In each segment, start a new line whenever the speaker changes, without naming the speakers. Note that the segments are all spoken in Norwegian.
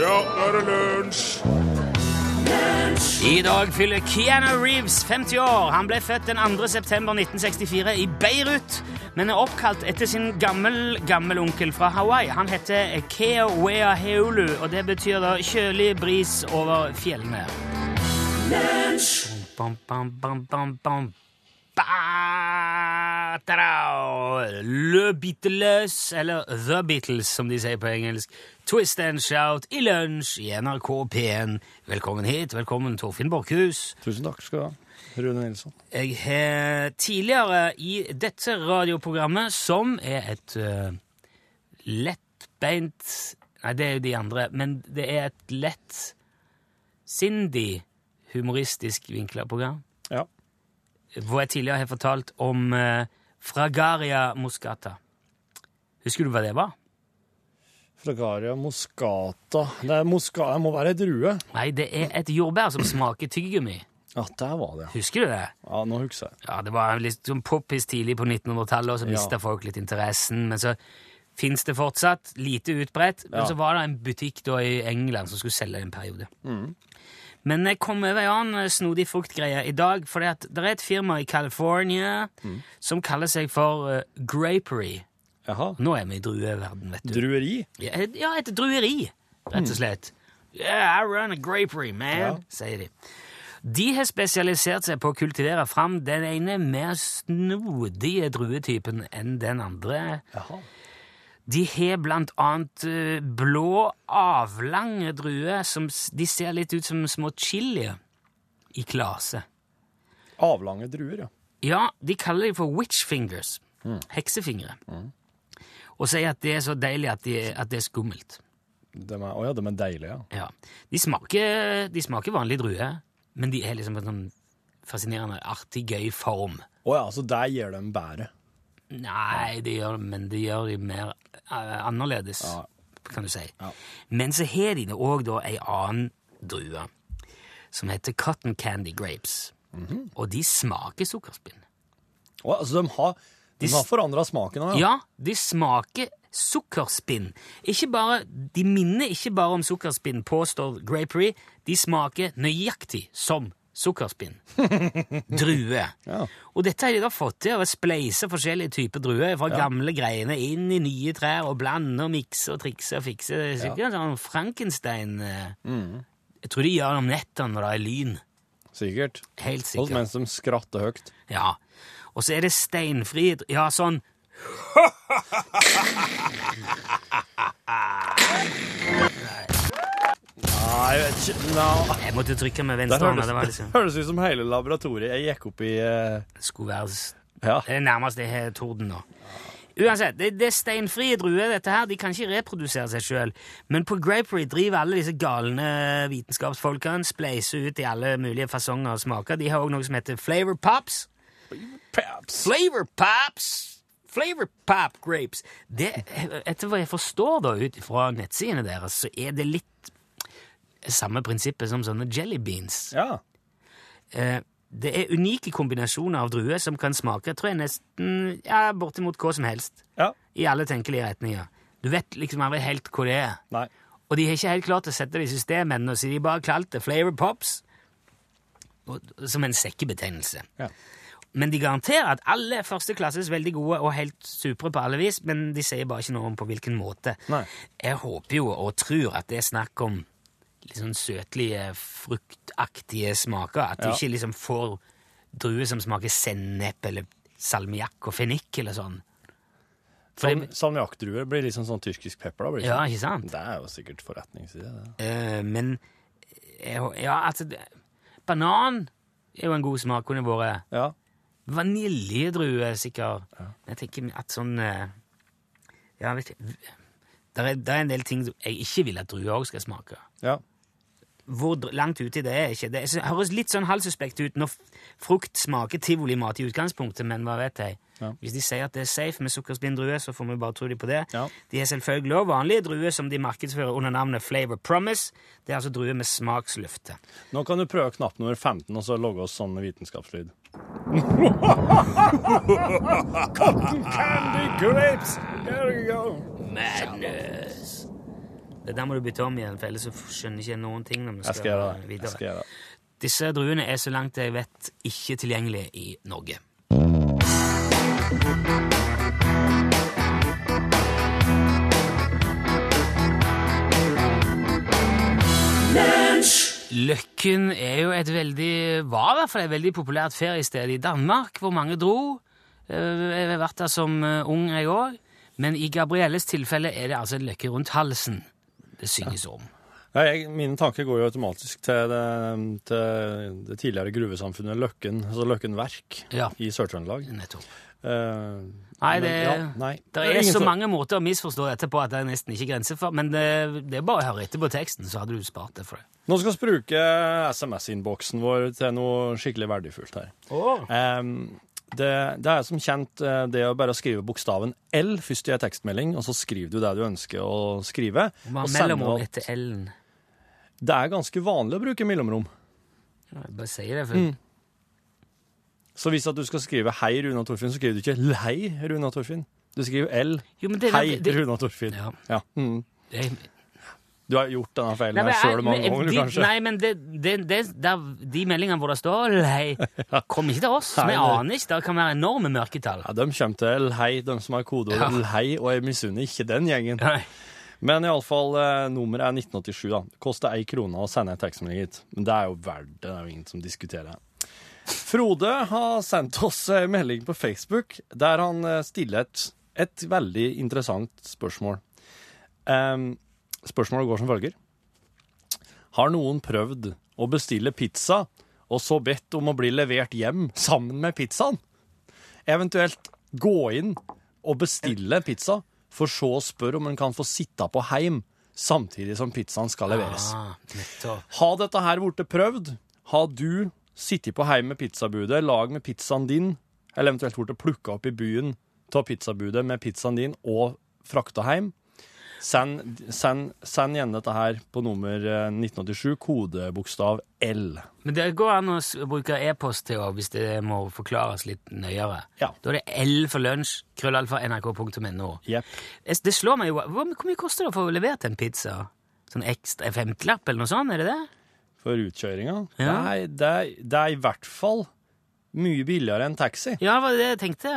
Ja, nå er det lunsj!
I dag fyller Keanu Reeves 50 år. Han ble født den 2. september 1964 i Beirut, men er oppkalt etter sin gammel, gammel onkel fra Hawaii. Han heter Keo Wea Heulu, og det betyr da kjølig bris over fjellene. Bam, bam, bam, bam, bam. Ba, tada! Le Beatles, eller The Beatles, som de sier på engelsk. Twist and shout i lunsj i NRK P1. Velkommen hit. Velkommen, Torfinn Borchhus.
Tusen takk skal du ha, Rune Nilsson.
Jeg har tidligere i dette radioprogrammet, som er et eh, lettbeint Nei, det er jo de andre, men det er et lettsindig humoristisk vinkla program,
Ja.
hvor jeg tidligere har fortalt om eh, Fragaria muscata. Husker du hva det var?
Fragaria moscata. Det er mosca... Det må være ei drue.
Nei, det er et jordbær som smaker tyggegummi.
Ja, der var det. ja.
Husker du det?
Ja, nå husker jeg.
ja, det var litt sånn poppis tidlig på 1900-tallet, og så
Ja.
mista folk litt interessen. Men så fins det fortsatt, lite utbredt. Men
Ja.
så var det en butikk da i England som skulle selge det en periode. Men jeg kom over en annen eh, snodig fruktgreie i dag, for det er et firma i California
Mm.
som kaller seg for eh, Grapery.
Jaha.
Nå er vi i drueverden, vet du.
Drueri? Mm.
Ja, et- Ja, et drueri, rett og slett. Yeah, I run a grapery, man,
Ja.
sier de. De har spesialisert seg på å kultivere fram den ene mer snodige druetypen enn den andre.
Jaha.
De har blant annet eh, blå, avlange druer som s- de ser litt ut som små chilier i klase.
Avlange druer, ja.
Ja, de kaller de for witch fingers,
Mm.
heksefingre, og sier at det er så deilig at, de, at det er skummelt.
De er, å ja, de er deilige, ja.
Ja. De smaker, de smaker vanlig drue, men de er liksom en sånn fascinerende, artig, gøy form.
Å ja, så der gjør de bæret.
Nei, de gjør, men de gjør de mer eh, annerledes,
Ja.
kan du si.
Ja.
Men så har de òg da ei annen drue som heter cotton candy grapes. Og de smaker sukkerspinn.
Å ja, så de har, de har forandra smaken av det?
Ja, de smaker sukkerspinn. Ikke bare, de minner ikke bare om sukkerspinn, påstår Grapery. De smaker nøyaktig som sukkerspinn. Drue.
Ja.
Og dette har de da fått til ved å spleise forskjellige typer druer fra gamle greiene inn i nye trær og blande og mikse og trikse og fikse. Det er sikkert sånn Frankenstein eh, Jeg tror de gjør det om nettene når det er lyn.
Sikkert.
Helt
Holdt
sikkert.
mens de skratter høyt.
Ja. Og så er det steinfri Ja, sånn
Nei, jeg vet ikke no.
Jeg måtte trykke med
Der
venstrehånda.
høres,
Det var liksom
høres ut som hele laboratoriet jeg gikk opp i eh,
skulle være s-
Ja.
Det er nærmest det her torden nå. Uansett, det, det er steinfrie druer, dette her. De kan ikke reprodusere seg sjøl. Men på Grapery driver alle disse galne vitenskapsfolkene, spleiser ut i alle mulige fasonger og smaker. De har òg noe som heter Flavor Pops.
Paps.
Flavor Pops! Flavor Pop Grapes. Det, etter hva jeg forstår da ut fra nettsidene deres, så er det litt samme prinsippet som sånne jelly beans.
Ja.
Eh, Det er unike kombinasjoner av druer som kan smake tror jeg, nesten ja, bortimot hva som helst.
Ja.
I alle tenkelige retninger. Du vet liksom aldri helt hva det er.
Nei.
Og de har ikke helt klart å sette det i system ennå, så de har bare kalt det Flavor Pops og- som en sekkebetegnelse.
Ja.
Men de garanterer at alle er førsteklasses veldig gode og helt supre på alle vis, men de sier bare ikke noe om på hvilken måte.
Nei.
Jeg håper jo og tror at det er snakk om litt sånn søtlige, fruktaktige smaker. At du
Ja.
ikke liksom får druer som smaker sennep eller salmiakk og fennik eller sånn. For
Sånn,
det,
salmiakkdruer blir liksom sånn tyrkisk pepper. da blir det
ja,
ikke?
ikke sant?
Det er jo sikkert forretningsside. det.
Eh, men jeg, hå- ja, altså det- Banan er jo en god smak, kunne vært.
Ja.
Vaniljedrue, sikkert. Men Jeg tenker at sånn eh, Ja, vet ikke der er, der er en del ting som jeg ikke vil at druer òg skal smake.
ja.
Hvor dr- langt ute det er ikke. Det er- det høres litt sånn halvsuspekt ut når f- frukt smaker tivolimat i utgangspunktet, men hva vet jeg.
Ja.
Hvis de sier at det er safe med sukkerspinndruer, så får vi bare tro de på det.
Ja.
De er selvfølgelig også vanlige druer som de markedsfører under navnet Flavor Promise. Det er altså druer med smaksløfte.
Nå kan du prøve knapp nummer 15 og så logge oss sånn vitenskapslyd. Cotton candy grapes! There you go.
Madness! Det der må du bytte om igjen, for ellers så skjønner ikke jeg noen ting. når vi
Jeg skal gjøre det.
videre.
Jeg skal gjøre det.
Disse druene er så langt jeg vet ikke tilgjengelige i Norge. Løkken er jo et veldig, var i hvert fall et veldig populært feriested i Danmark, hvor mange dro. Eh, Jeg har vært der som eh, ung jeg òg, men i Gabrielles tilfelle er det altså en løkke rundt halsen det synges om.
Ja, jeg, mine tanker går jo automatisk til det, til det tidligere gruvesamfunnet Løkken, altså Løkken Verk
Ja,
i Sør-Trøndelag.
nettopp.
Eh,
Nei,
men
det,
ja, nei.
det
Det er
er så
ingen-
mange måter å misforstå dette på at det er nesten ikke grenser for, men eh, det, det er bare å høre etter på teksten, så hadde du spart det for det.
Nå skal vi bruke SMS-innboksen vår til noe skikkelig verdifullt her. Ehm, det, det er som kjent eh, det å bare skrive bokstaven L først i en tekstmelding, og så skriver du det du ønsker å skrive.
Hva
og
er
sender
mellomrom
det-
etter L-en?
Det er ganske vanlig å bruke mellomrom.
Jeg bare sier det, for
Så hvis at du skal skrive 'Hei, Runa Torfinn', så skriver du ikke 'Lei, Runa Torfinn'. Du skriver L.
Jo, men det,
Hei,
det,
Runa Torfinn.
Ja.
Ja. Mm.
det,
Du har gjort denne feilen
Nei, men
her
jeg-
sjøl mange
men
ganger,
de,
kanskje?
Nei, men det, det, det, der, de meldingene hvor det står Lei, kom ikke til oss. Vi
Nei, det-
aner ikke. Det kan være enorme mørketall.
Ja, de kommer til Lhei, de som har kodeord
Ja.
Lhei, og jeg misunner ikke den gjengen.
Nei.
Men iallfall, eh, nummeret er 1987, da. Det koster ei krone å sende en tekstmelding hit. Men det er jo verdt det, det er jo ingen som diskuterer det. Frode har sendt oss en melding på Facebook der han eh, stiller et, et veldig interessant spørsmål. Em, spørsmålet går som følger. Har noen prøvd å bestille pizza og så bedt om å bli levert hjem sammen med pizzaen? Eventuelt gå inn og bestille en pizza, for så å spørre om en kan få sitte på heim samtidig som pizzaen skal leveres.
Ah, nettopp.
Har dette her blitt prøvd? Har du sittet på heim med pizzabudet, lag med pizzaen din, eller eventuelt blitt plukka opp i byen av pizzabudet med pizzaen din og frakta heim? Send, send, send igjen dette her på nummer eh, 1987, kodebokstav L.
Men det går an å s- bruke e-post til også, hvis det må forklares litt nøyere.
Ja.
Da er det L for lunsj, krøllalfa nrk.no.
Jepp.
Es- Det slår meg jo Hvor hvor mye koster det å få levert en pizza? Sånn ekstra en femtilapp eller noe sånt? Er det det?
For utkjøringa?
Ja.
Nei, det er, det er i hvert fall mye billigere enn taxi.
Ja, det var det jeg tenkte.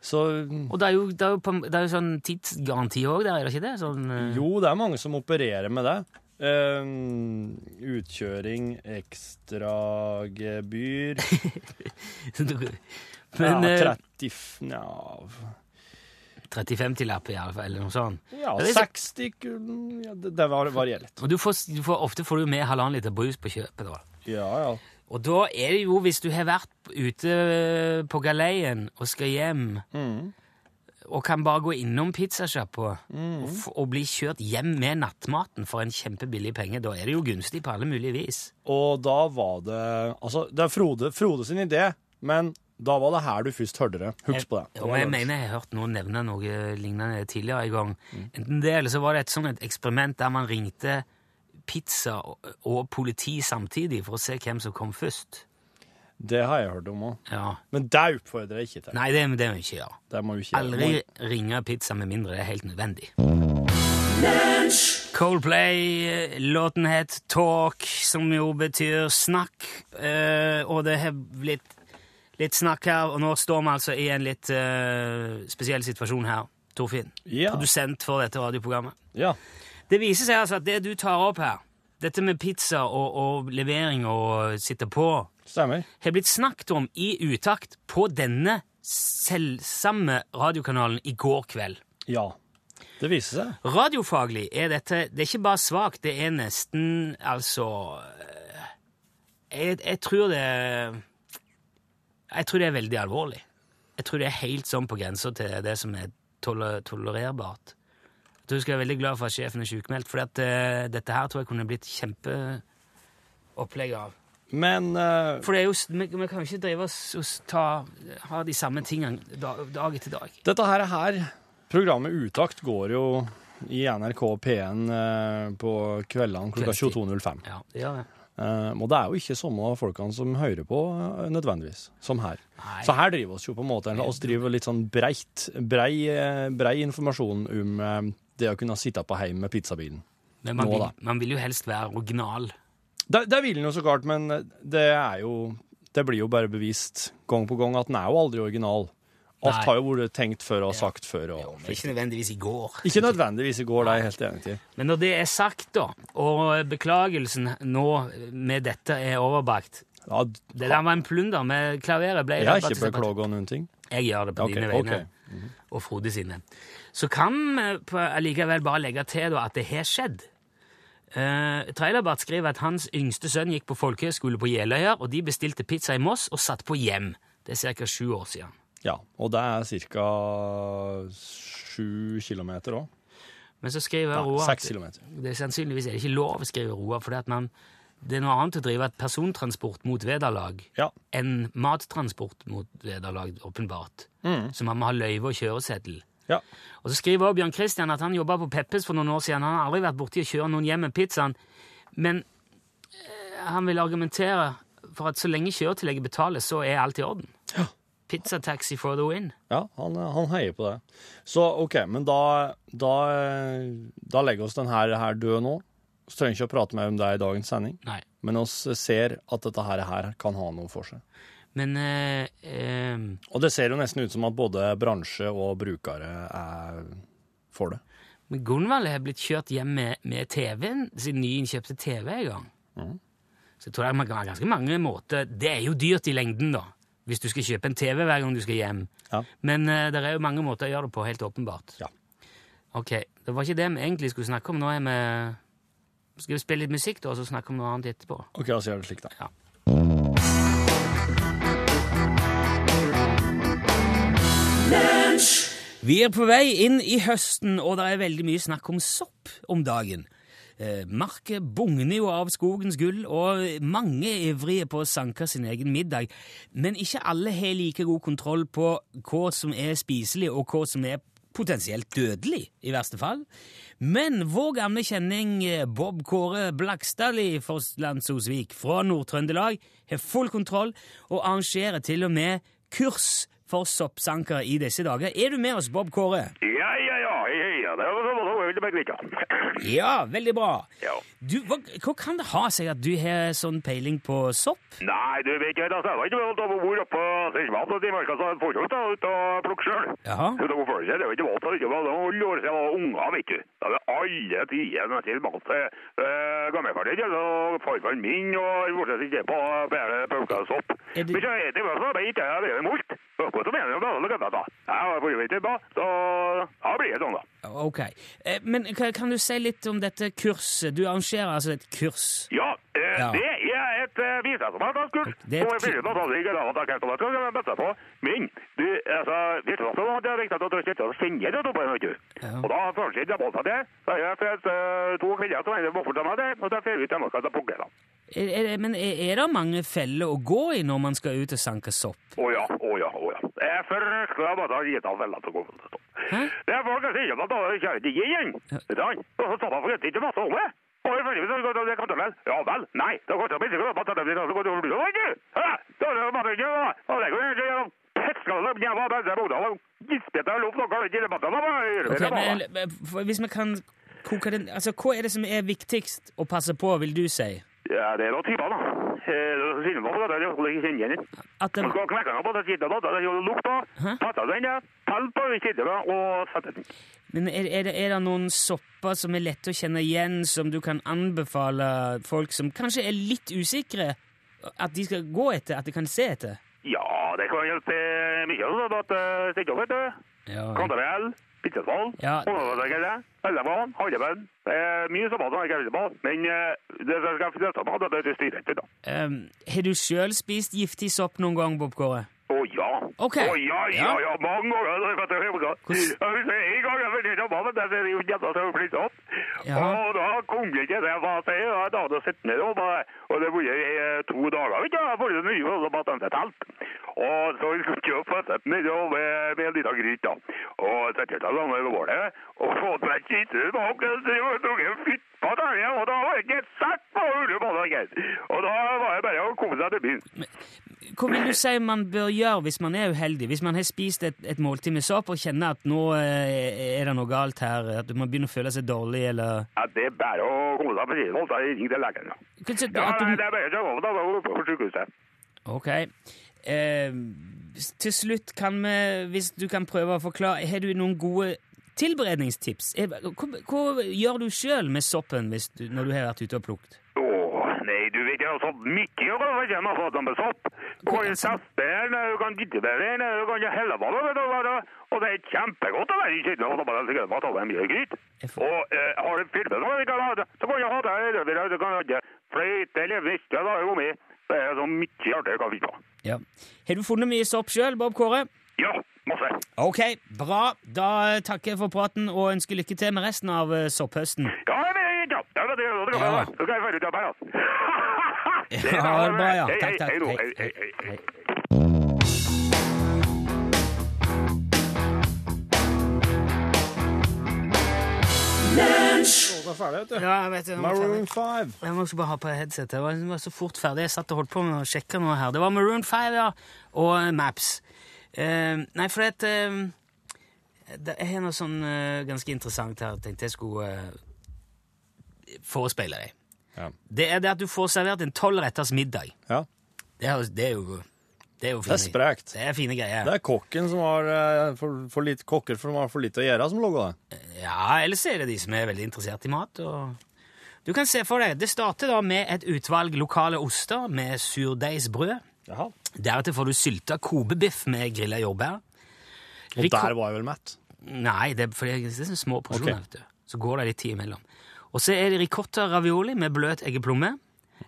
Så
Og det er jo, det er jo, på- det er jo sånn tidsgaranti òg der, er det ikke det? Sånn, eh,
jo, det er mange som opererer med det. Eh, utkjøring, ekstragebyr
Men eh,
ja,
ja,
30 f- ja,
35-tilapp i alle fall, eller noe sånt.
ja,
det er så-
60 kun- ja, Det, det var- varierer litt.
Og du får, s- du får, ofte får du med halvannen liter brus på kjøpet. da.
Ja, ja.
Og da er det jo, hvis du har vært ute på galeien og skal hjem,
Mm.
og kan bare gå innom pizzasjappa
Mm.
og, f- og bli kjørt hjem med nattmaten for en kjempebillig penge, da er det jo gunstig på alle mulige vis.
Og da var det Altså, det er Frode, Frode sin idé, men da var det her du først hørte det. Husk på det. Det
Og
var
jeg
lunsj.
mener jeg har hørt noen nevne noe lignende tidligere en gang. Enten det, eller så var det et sånn et eksperiment der man ringte pizza og, og politi samtidig for å se hvem som kom først.
Det har jeg hørt om òg.
Ja.
Men det oppfordrer jeg ikke til.
Nei, det, det må vi ikke gjøre.
Det må jo ikke
Aldri ringe pizza med mindre det er helt nødvendig. Coldplay, låten het Talk, som jo betyr snakk, eh, og det har blitt litt snakk her, og nå står vi altså i en litt eh, spesiell situasjon her, Torfinn.
Ja.
Produsent for dette radioprogrammet.
Ja.
Det viser seg altså at det du tar opp her, dette med pizza og, og levering og sitte på,
Stemmer.
har blitt snakket om i utakt på denne selvsamme radiokanalen i går kveld.
Ja. Det viser seg.
Radiofaglig er dette Det er ikke bare svakt, det er nesten Altså øh, jeg, jeg tror det Jeg tror det er veldig alvorlig. Jeg tror det er helt sånn på grensa til det som er tole- tolererbart. Jeg tror du skal være veldig glad for at sjefen er sjukmeldt, for at, øh, dette her tror jeg kunne blitt kjempeopplegg av.
Men eh,
For det er jo, s- vi, vi kan jo ikke drive oss og s- ta, ha de samme tingene dag, dag etter dag.
dette her, her Programmet Utakt går jo i NRK P1 eh, på kveldene klokka
Kveldstid.
22.05.
Ja, det gjør det.
Eh, og det er jo ikke samme folkene som hører på, eh, nødvendigvis, som her.
Nei.
Så her driver oss jo på en måte oss driver litt sånn breit, brei, eh, brei informasjon om eh, det å kunne sitte på heim med pizzabilen.
Men man,
Nå, da.
vil, man vil jo helst være original.
Det, det vil den jo så klart, men eh, det er jo Det blir jo bare bevist gang på gang at den er jo aldri original. Alt
Nei.
har jo vært tenkt før og sagt før. Og,
Men ikke nødvendigvis i går.
Ikke nødvendigvis i går, det er jeg helt enig i.
Men når det er sagt, da, og beklagelsen nå med dette er overbakt
Ja,
Det der var en plunder med klaveret. Ble
jeg har ikke
rabatisert.
beklaga noen ting.
Jeg gjør det på
Ok,
dine
ok. Mhm.
vegne. Og Frode sine. Så kan vi på- allikevel bare legge til da, at det har skjedd. Uh, Trailerbart skriver at hans yngste sønn gikk på folkehøyskole på Jeløya, og de bestilte pizza i Moss og satt på hjem. Det er ca. sju år siden.
Ja, og det er ca. sju kilometer òg.
Men så skriver Roar at
Seks kilometer.
det er sannsynligvis er det ikke lov, skriver Roar, fordi at man, det er noe annet å drive et persontransport mot vederlag
Ja.
enn mattransport mot vederlag, åpenbart. Så man må ha løyve og kjøreseddel.
Mm. ja.
Og så skriver også Bjørn Christian at han jobba på Peppes for noen år siden. Han har aldri vært borti å kjøre noen hjem med pizzaen, men eh, han vil argumentere for at så lenge kjøretillegget betales, så er alt i orden. Pizzataxi for the win.
Ja, han, han heier på det. Så OK, men da, da, eh, da legger oss den her, her død nå. Så trenger vi ikke å prate mer om det i dagens sending.
Nei.
Men oss ser at dette her, her kan ha noe for seg.
Men eh, eh,
Og det ser jo nesten ut som at både bransje og brukere er for det.
men Gunvald har blitt kjørt hjem med, med TV-en, sin nyinnkjøpte TV en gang.
Mm.
Så jeg tror det kan være ganske mange måter Det er jo dyrt i lengden, da, hvis du skal kjøpe en TV hver gang du skal hjem.
Ja.
Men eh, det er jo mange måter å gjøre det på, helt åpenbart.
Ja.
Ok, det var ikke det vi egentlig skulle snakke om. Nå er vi... Skal vi spille litt musikk da, og så snakke om noe annet etterpå?
OK, da sier jeg det slik, da.
Vi er på vei inn i høsten, og det er veldig mye snakk om sopp om dagen. Eh, Market bugner jo av skogens gull, og mange er ivrige på å sanke sin egen middag. Men ikke alle har like god kontroll på hva som er spiselig, og hva som er potensielt dødelig, i verste fall. Men vår gamle kjenning eh, Bob Kåre Blakstadli Forstlandsosvik fra Nord-Trøndelag har full kontroll, og arrangerer til og med kurs for soppsankere i disse dager. Er du med oss, Bob Kåre?
Ja, ja, ja, hei, ja. Det er var, det var, det var veldig merkelig,
Ja, veldig bra.
ja.
Du, hva, hva kan det ha seg at du har sånn peiling på sopp?
Nei, du vet ikke, altså, jeg var ikke valgt av å bor oppe på Sørlandet i marka, så jeg får jo ikke ut og plukke selv.
Jaha.
Så det var for seg, det var ikke valgt, det var noen år siden jeg var unger, vet du. Da hadde alle tider nesten valgt til eh, gammelferdig, og farfaren min, og hvor jeg sitter på flere plukker sopp.
Er det-
Men så er det hva som er beit, jeg har vært imot. Hva som mener du, da, da, da, da. Jeg har vært imot, da, så da blir det sånn, da.
Ok. Eh, Men hva- kan du si litt om dette kurset? Du arrangerer altså et kurs.
Ja, eh,
Ja.
det er et eh, visdomsmannskult.
Det er
Det
et
er et
kul-
visdomsmannskult. Men du, altså, visdomsmannskult er viktig at du ikke kjenner det oppe, vet du.
Ja.
Og da føler jeg ikke på seg det. Så jeg har sett eh, to kvinner som er bortført av meg det, og så ser jeg ut til å ta pugge dem.
Er, er, det- men er, er det mange feller å gå i når man skal ut og sanke sopp?
Å ja, å ja, å ja. Det er fryktelig at jeg gitt av veldig til å gå til stopp.
Hæ?
Det er folk som sier at da kjører de igjen. Vet du hva? Og så tar de for ikke masse om det. Og i følge med så går det- det kan de vel. Ja vel, nei. Det går ikke å bli sikker på at det blir noe som går over blod, vet du. Hæ? Da er det jo bare ikke, da. Og det går ikke gjennom peskene som jævla bedre boda og gispete og luft og galt i debatten. Da må jeg gjøre
Ok,
det, da.
men, eh, for- hvis vi kan koke den Altså, hva er det som er viktigst å passe på, vil du si?
Ja, det er noen typer, da. Eh, Det er synd på det, det er jo ikke kjenner igjen.
At den,
Man skal knekke den på den siden, da. Det er jo lukt, da.
Hæ?
Passe den, ja. Tell på den siden, da, og sette den.
men er, er, det, er det noen sopper som er lette å kjenne igjen, som du kan anbefale folk som kanskje er litt usikre, at de skal gå etter, at de kan se etter?
Ja, det kan hjelpe mye. Så da, at, eh, stikker, vet du.
Ja.
Kantarell, pizzasval,
Ja.
hovedregele, ellevann, hallevann. Det er mye som er galt på, men eh, det som skal finnes på, det er det styret, da.
Um, har du sjøl spist giftig sopp noen gang, Bob Kåre?
Å ja.
Ok.
Å ja, ja,
Ja.
ja, mange ganger. Det vet jeg ikke. Jeg husker en gang jeg var nede og badet, der er det jo jævla som flyttet opp.
Ja.
Og da kom jeg ikke det jeg var til, og da hadde jeg sett ned og bare, og det var jo eh, to dager, vet du, jeg var jo nye, og så badet jeg til telt. Og så skulle jeg jo få sett ned og med, med en liten gryt da. Og sette seg sånn over vålet, og få til en kitte bak, og så jeg tok en fytt på tangen, og da var jeg ikke sett på ulebadet, og da var jeg bare å komme seg til byen.
hva vil du si man bør gjøre hvis man er uheldig? Hvis man har spist et, et måltid med sopp og kjenner at nå eh, er det noe galt her, at man begynner å føle seg dårlig, eller
Ja, det er bare å komme seg på siden, så jeg ringer til legen. da.
Hva sier du?
Ja,
At
nei,
du
det er bare å ta over da, da går du på sykehuset.
Ok. Eh, s- til slutt kan vi, hvis du kan prøve å forklare, har du noen gode tilberedningstips? Eh, Hva, hva gjør du sjøl med soppen hvis du, når du har vært ute og plukket?
Åh, nei, du vet ikke, altså, mye å gå kjenne på sånn med sopp. Du kan jo teste den, du kan dytte med den, du kan jo helle på den, vet du hva det er. Og det er kjempegodt å være i kjøttet, og da bare sikkert bare ta deg mye gryt.
Jeg får-
Og eh, har du filmen, så kan du ha det, så kan du ha det, eller du kan ha det, fløyte eller viste, da er jo med. Det er så mye artig du kan finne på.
Ja. Har du funnet mye sopp sjøl, Bob Kåre?
Ja, masse.
Ok, bra. Da takker jeg for praten og ønsker lykke til med resten av eh, sopphøsten.
Ja, jeg vet ikke, ja, jeg vet ikke, nå skal jeg
Ja.
være, nå skal jeg være ut av meg, altså.
Ja, ha det bra, ja.
Hei,
Takk, takk.
Hei, hei,
Hei,
hei,
hei,
hei, hei.
Låta er ferdig, vet du.
Ja, jeg vet det. Jeg må ta
Maroon
det.
5.
Jeg må ikke bare ha på headset. Jeg var, jeg var så fort ferdig. Jeg satt og holdt på med å sjekke noe her. Det var Maroon 5 ja, og eh, Maps. Eh, nei, for at eh, Det er noe sånn eh, ganske interessant her. Jeg tenkte jeg skulle eh, forespeile deg.
Ja.
Det er det at du får servert en tolv retters middag.
ja.
Det er, det er jo Det er jo
Det
fine,
er sprekt.
Det er fine greier.
Det er kokken som har eh, for, for lite kokker for de har for lite å gjøre, som logger det.
Ja, ellers er det de som er veldig interessert i mat. Og du kan se for deg, Det starter da med et utvalg lokale oster med surdeigsbrød.
Jaha.
Deretter får du sylta kobebiff med grilla jordbær.
Og
Rico-
der var jeg vel mett.
Nei, det er, fordi det er sånne små porsjoner.
Ok.
vet du. Så går det litt tid imellom. Og så er det ricotta ravioli med bløt eggeplomme,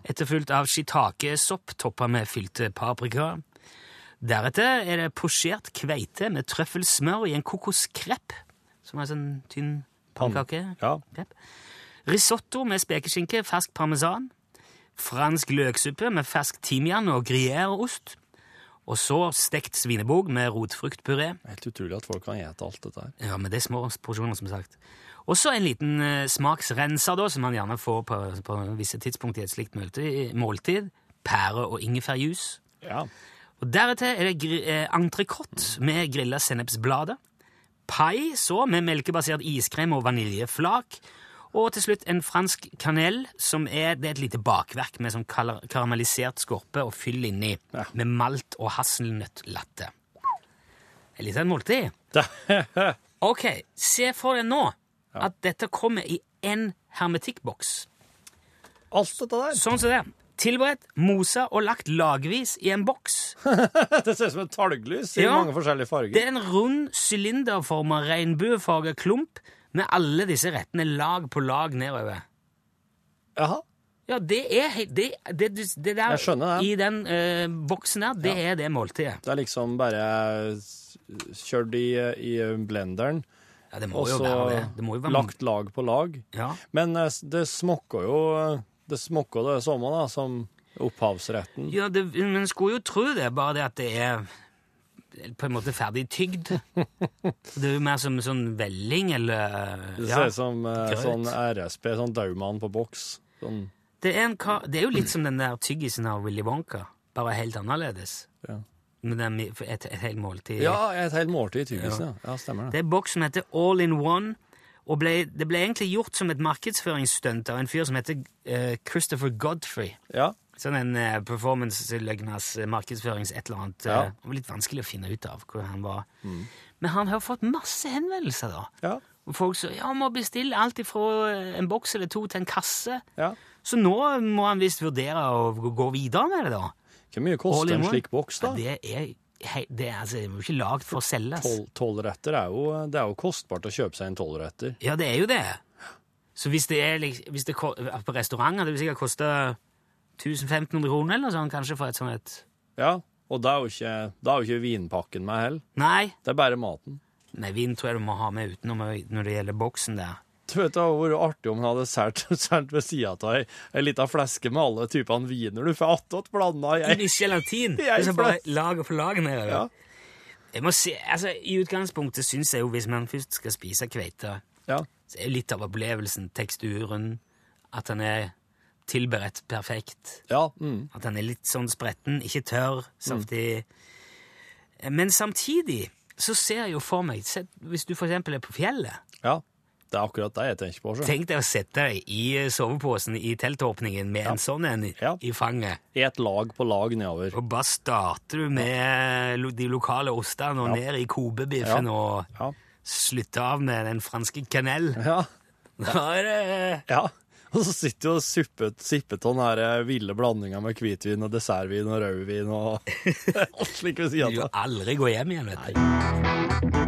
etterfulgt av shiitake-sopp toppa med fylte paprika. Deretter er det posjert kveite med trøffelsmør i en kokoskrepp, som er sånn tynn pannekake.
Ja.
Krepp. Risotto med spekeskinke, fersk parmesan. Fransk løksuppe med fersk timian og gruyèreost. Og så stekt svinebog med rotfruktpuré.
Helt utrolig at folk kan gjete alt dette her.
Ja, men det er små porsjoner, som sagt. Og så en liten eh, smaksrenser, da, som man gjerne får på, på visse tidspunkt i et slikt måltid. måltid. Pære- og ingefærjus.
Ja.
Og deretter er det gri- eh, entrecôte med grilla sennepsblader. Pai så med melkebasert iskrem og vaniljeflak. Og til slutt en fransk kanel, som er, det er et lite bakverk med sånn kala- karamellisert skorpe og fyll inni,
Ja.
med malt og hasselnøttlatte. Et lite måltid. Ok, se for deg nå at dette kommer i en hermetikkboks.
Alt dette der.
Sånn som det. Tilberedt, mosa og lagt lagvis i en boks.
Det ser ut som et talglys i
Ja.
mange forskjellige farger.
Det er en rund, sylinderforma, regnbuefarga klump med alle disse rettene lag på lag nedover.
Jaha.
Ja, det er he- det, det, det, det der
Jeg skjønner det.
i den eh, boksen der, det er det måltidet.
Det er liksom bare s- kjørt i, i blenderen,
Ja, det må
og
jo
så
være det. Det må jo være
lagt lag på lag.
Ja.
Men eh, s- det smokker jo eh, det smokker det samme da, som opphavsretten.
Ja, det, men skulle jo tro det, bare det at det er på en måte ferdig tygd. Det er jo mer som sånn velling, eller
Det
ja.
ser ut som eh,
greit.
sånn RSP, sånn daumann på boks. Sånn,
det, er en, ka- det er jo litt som den der tyggisen av Willy Wonka, bare helt annerledes.
ja.
Med den, mi- for et, et helt måltid.
ja, et helt måltid i tyggisen, ja. ja. Stemmer det.
Det er boks som heter All in One, og ble, det ble egentlig gjort som et markedsføringsstunt av en fyr som heter eh, Christopher Godfrey.
Ja.
Sånn en eh, performance-løgnas eh, markedsførings-et eller annet.
Ja. Mm.
eh, det var litt vanskelig å finne ut av hvor han var. Men han har fått masse henvendelser, da.
Ja.
Og folk sier ja, må bestille alt ifra eh, en boks eller to til en kasse.
ja.
Så nå må han visst vurdere å gå- gå videre med det, da.
Hvor mye
All
koster
in
en
one?
slik boks, da?
Ja, det er, hei, det er, altså, det er jo ikke lagd for å selges.
Tolv tolvretter er jo eh, Det er jo kostbart å kjøpe seg en tolvretter.
Ja, det er jo det. Så hvis det er liksom, hvis det, ko- på restauranter, det vil sikkert koste 1500 kroner eller noe sånt, kanskje, for et sånt et
Ja. Og da er jo ikke, da er jo ikke vinpakken med heller.
Nei,
Det er bare maten.
nei vin tror jeg du må ha med utenom når det gjelder boksen der.
Du vet, Det hadde vært artig om han hadde sært, sært ved sida av ei, ei lita fleske med alle typene viner du får attåt blanda i ei.
Litt gelatin!
Jeg
Liksom bare
forstår.
lager for lager nedover.
Ja.
Jeg må si, altså, I utgangspunktet syns jeg jo, hvis man først skal spise kveite,
Ja.
så er jo litt av opplevelsen teksturen, at den er tilberedt perfekt.
Ja, mm.
At han er litt sånn spretten, ikke tørr, saftig.
Mm.
Men samtidig så ser jeg jo for meg, se, hvis du for eksempel er på fjellet,
ja. Det er akkurat det jeg tenker på. Sjø.
tenk deg å sette deg i soveposen i teltåpningen med en sånn en i-
Ja.
i fanget.
Et lag på lag nedover.
Og bare starter du med lo- de lokale ostene og ned i kobebiffen
Ja.
og
Ja.
slutter av med den franske kanel.
ja.
Da er eh, det
ja. Og så sitter du og supper- sipper av den her eh, ville blandinga med hvitvin og dessertvin og rødvin og alt slik ved siden
du vil
av.
aldri gå hjem igjen, vet du.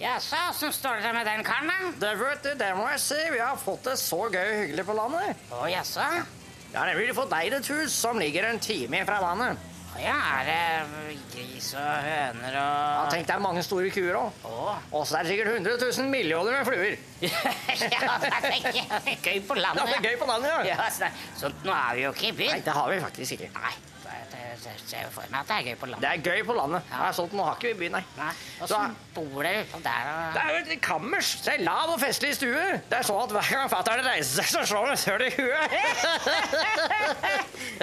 Jaså, så står det med den karen, da?
Det, vet du, det må jeg si. Vi har fått det så gøy og hyggelig på landet.
Å, jaså?
Jeg har nemlig fått eid et hus som ligger en time fra vannet.
Å Ja, er det gris og høner
Ja,
og
tenk, det er mange store kuer òg.
Å.
Og så er det sikkert 100 000 millioner med fluer.
Ja, det er gøy på
Ja, det er
landet.
gøy på landet, ja.
Ja, så- sånt nå er vi jo ikke i
Nei,
byen.
det har vi faktisk ikke.
Nei, det- det det ser jo for meg at det er gøy på landet.
Det er gøy på landet. Det er sånt, nå har ikke vi byen, nei.
Nei,
Så-
Åssen bor dere utpå der?
Det
da?
er jo et kammers. Det er lav og festlig stue. Det er sånn at hver gang fatter'n reiser seg, så slår han søl i huet.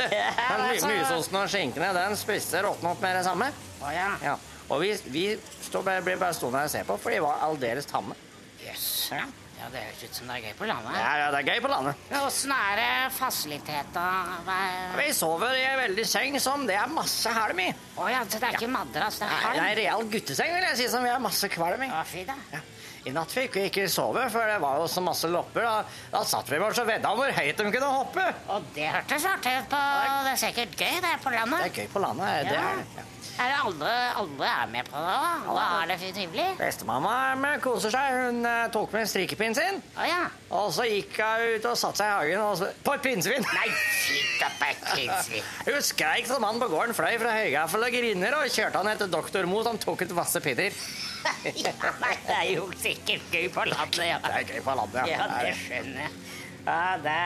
Den my- mysosten og skinkene, den spiste råtna opp med det samme.
Å ja.
Ja, og vi, vi står bare, blir bare stående her og se på, for de var aldeles tamme.
Jøss.
Ja.
Ja, det høres ut som det er gøy på landet.
Ja, ja, det er gøy på landet.
Men åssen er det fasilitetene? Hva-
Vi sover i en veldig seng som det er masse halm i.
Å ja, så det er ikke madrass, det
Nei, Det
er
er en
halm?
real gutteseng, vil jeg si, som vi har masse kvalm i.
Å, fy da.
Ja. I natt fikk vi ikke sove, for det var jo så masse lopper. Da, da satt vi bare så vedda om hvor høyt de kunne hoppe.
Og det hørtes artig ut på Det er sikkert gøy, det, på landet.
Det er gøy på landet. det er det. Ja.
Er det alle, alle er med på det òg? Alle har det fint trivelig?
Bestemamma men koser seg. Hun eh, tok med strikkepinn sin,
Å ja.
og så gikk hun ut og satte seg i hagen og så, på et pinnsvin.
Nei, fint at det er tidslig.
Hun skreik som han på gården fløy fra høygaffel og griner og kjørte han etter doktor Mo, som tok ut masse pinner.
Ja, nei, det er jo sikkert gøy på landet, ja.
Det er gøy på landet,
Ja, det skjønner jeg. Ja, det...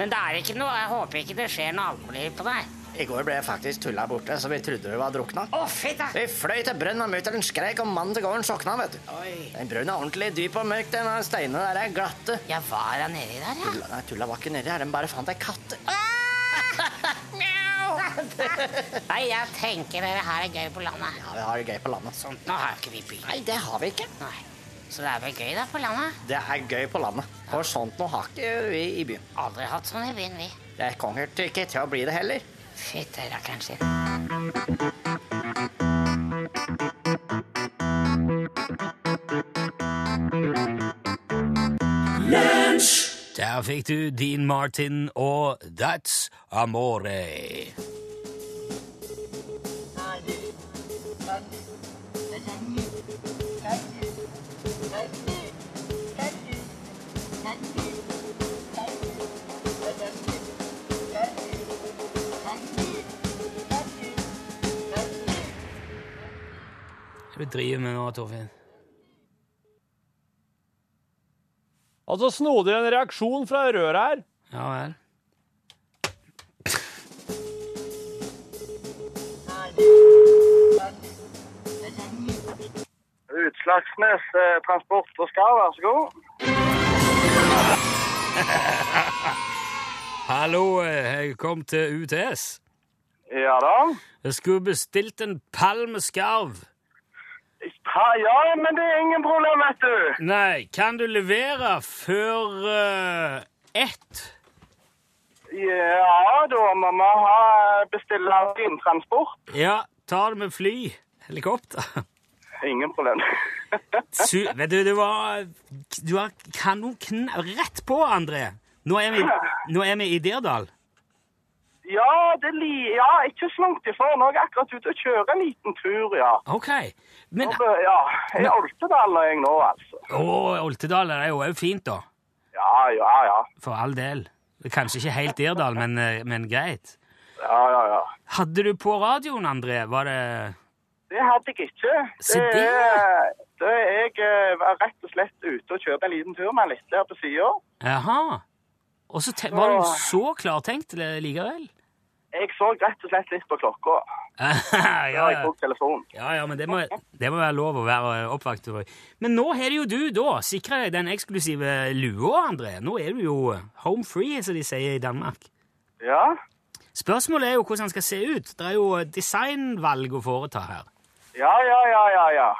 Men det er ikke noe, jeg håper ikke det skjer noe alvorlig på deg.
I går ble jeg faktisk tulla borte, så vi trodde vi var drukna.
Å, fint da!
Vi fløy til brønn, og mutter'n skreik, og mannen til gården sokna, vet du.
Oi.
Den brønnen er ordentlig dyp og mørk, den her steinen der er glatte.
Ja, var han nedi der, ja?
Tulla, nei, tulla var ikke nedi her, den bare fant ei katt.
Nei, jeg tenker dere her er gøy på landet.
Ja, vi har det gøy på landet.
Sånt Sånn. nå har ikke vi by.
Nei, det har vi ikke.
Nei. Så det er vel gøy da på landet?
Det er gøy på landet. For sånt noe har ikke vi i byen.
Aldri hatt sånn i byen, vi.
Det kommer ikke til å bli det heller.
Fytti rakkeren sin.
Der fikk du Dean Martin og That's Amore. Hva er det du driver med nå, Torfinn?
Altså, snodig en reaksjon fra røret her.
Ja vel.
Utslagsnes eh, transport og skar, vær så god.
Hallo, jeg kom til UTS.
Ja da.
Jeg skulle bestilt en pall med skarv.
Ja, ja, men det er ingen problem, vet du.
Nei, kan du levere før eh, ett?
Ja, da må vi ha bestille vintransport.
Ja, ta det med fly. Helikopter.
Ingen problem.
Su Vet du, det var Du har kanon kn rett på, André. Nå er vi, nå er vi i Dirdal.
ja, det li ja, ikke så langt ifra. Nå er jeg akkurat ute og kjører en liten tur, ja.
OK. Men
Nå
Å,
bør- Ja, jeg er Oltedal er jeg nå, altså.
Oltedal er jo òg fint, da.
Ja, ja, ja.
For all del. Kanskje ikke helt Dirdal, men, eh, men greit.
Ja, ja, ja.
Hadde du på radioen, André? Var det
Det hadde jeg ikke.
Se
Det
det.
er, det er jeg eh, var rett og slett ute og kjører en liten tur med en litt der på sida.
Jaha. Og så te- var du så klartenkt le- likevel?
Jeg så rett og slett litt på klokka
ja,
da jeg
ja.
tok telefonen.
ja, ja, men det må, det må være lov å være oppvakt. over. Men nå har jo du da sikra deg den eksklusive lua, André. Nå er du jo home free, som de sier i Danmark.
Ja,
Spørsmålet er jo hvordan den skal se ut. Det er jo designvalg å foreta her.
ja, ja, ja, ja. ja.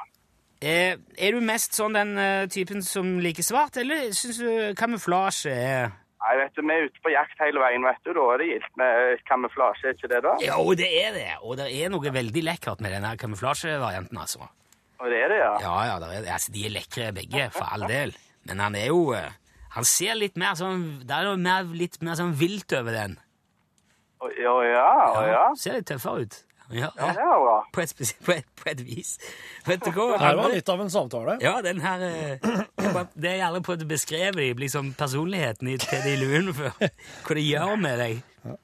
Eh, er du mest sånn den eh, typen som liker svart, eller syns du kamuflasje er
Nei, vet du, vi er ute på jakt hele veien, vet du. Da er det gildt med kamuflasje, er ikke det da?
Jo, det er det, og det er noe veldig lekkert med den her kamuflasjevarianten, altså.
Og det er det, ja.
Ja, ja, der er, altså, de er lekre begge, for all del. Men han er jo eh, Han ser litt mer sånn Det er noe mer, litt mer sånn vilt over den.
Å ja, å ja, å ja.
Ser litt tøffere ut. Ja,
Ja, det er bra.
På, et spesi- på, et, på et vis. Vet du hva?
Her var litt av en samtale.
Ja, den her eh, jeg bare- Det jeg aldri prøvd å beskrive i liksom personligheten i- til de luene før. Hva det gjør med deg.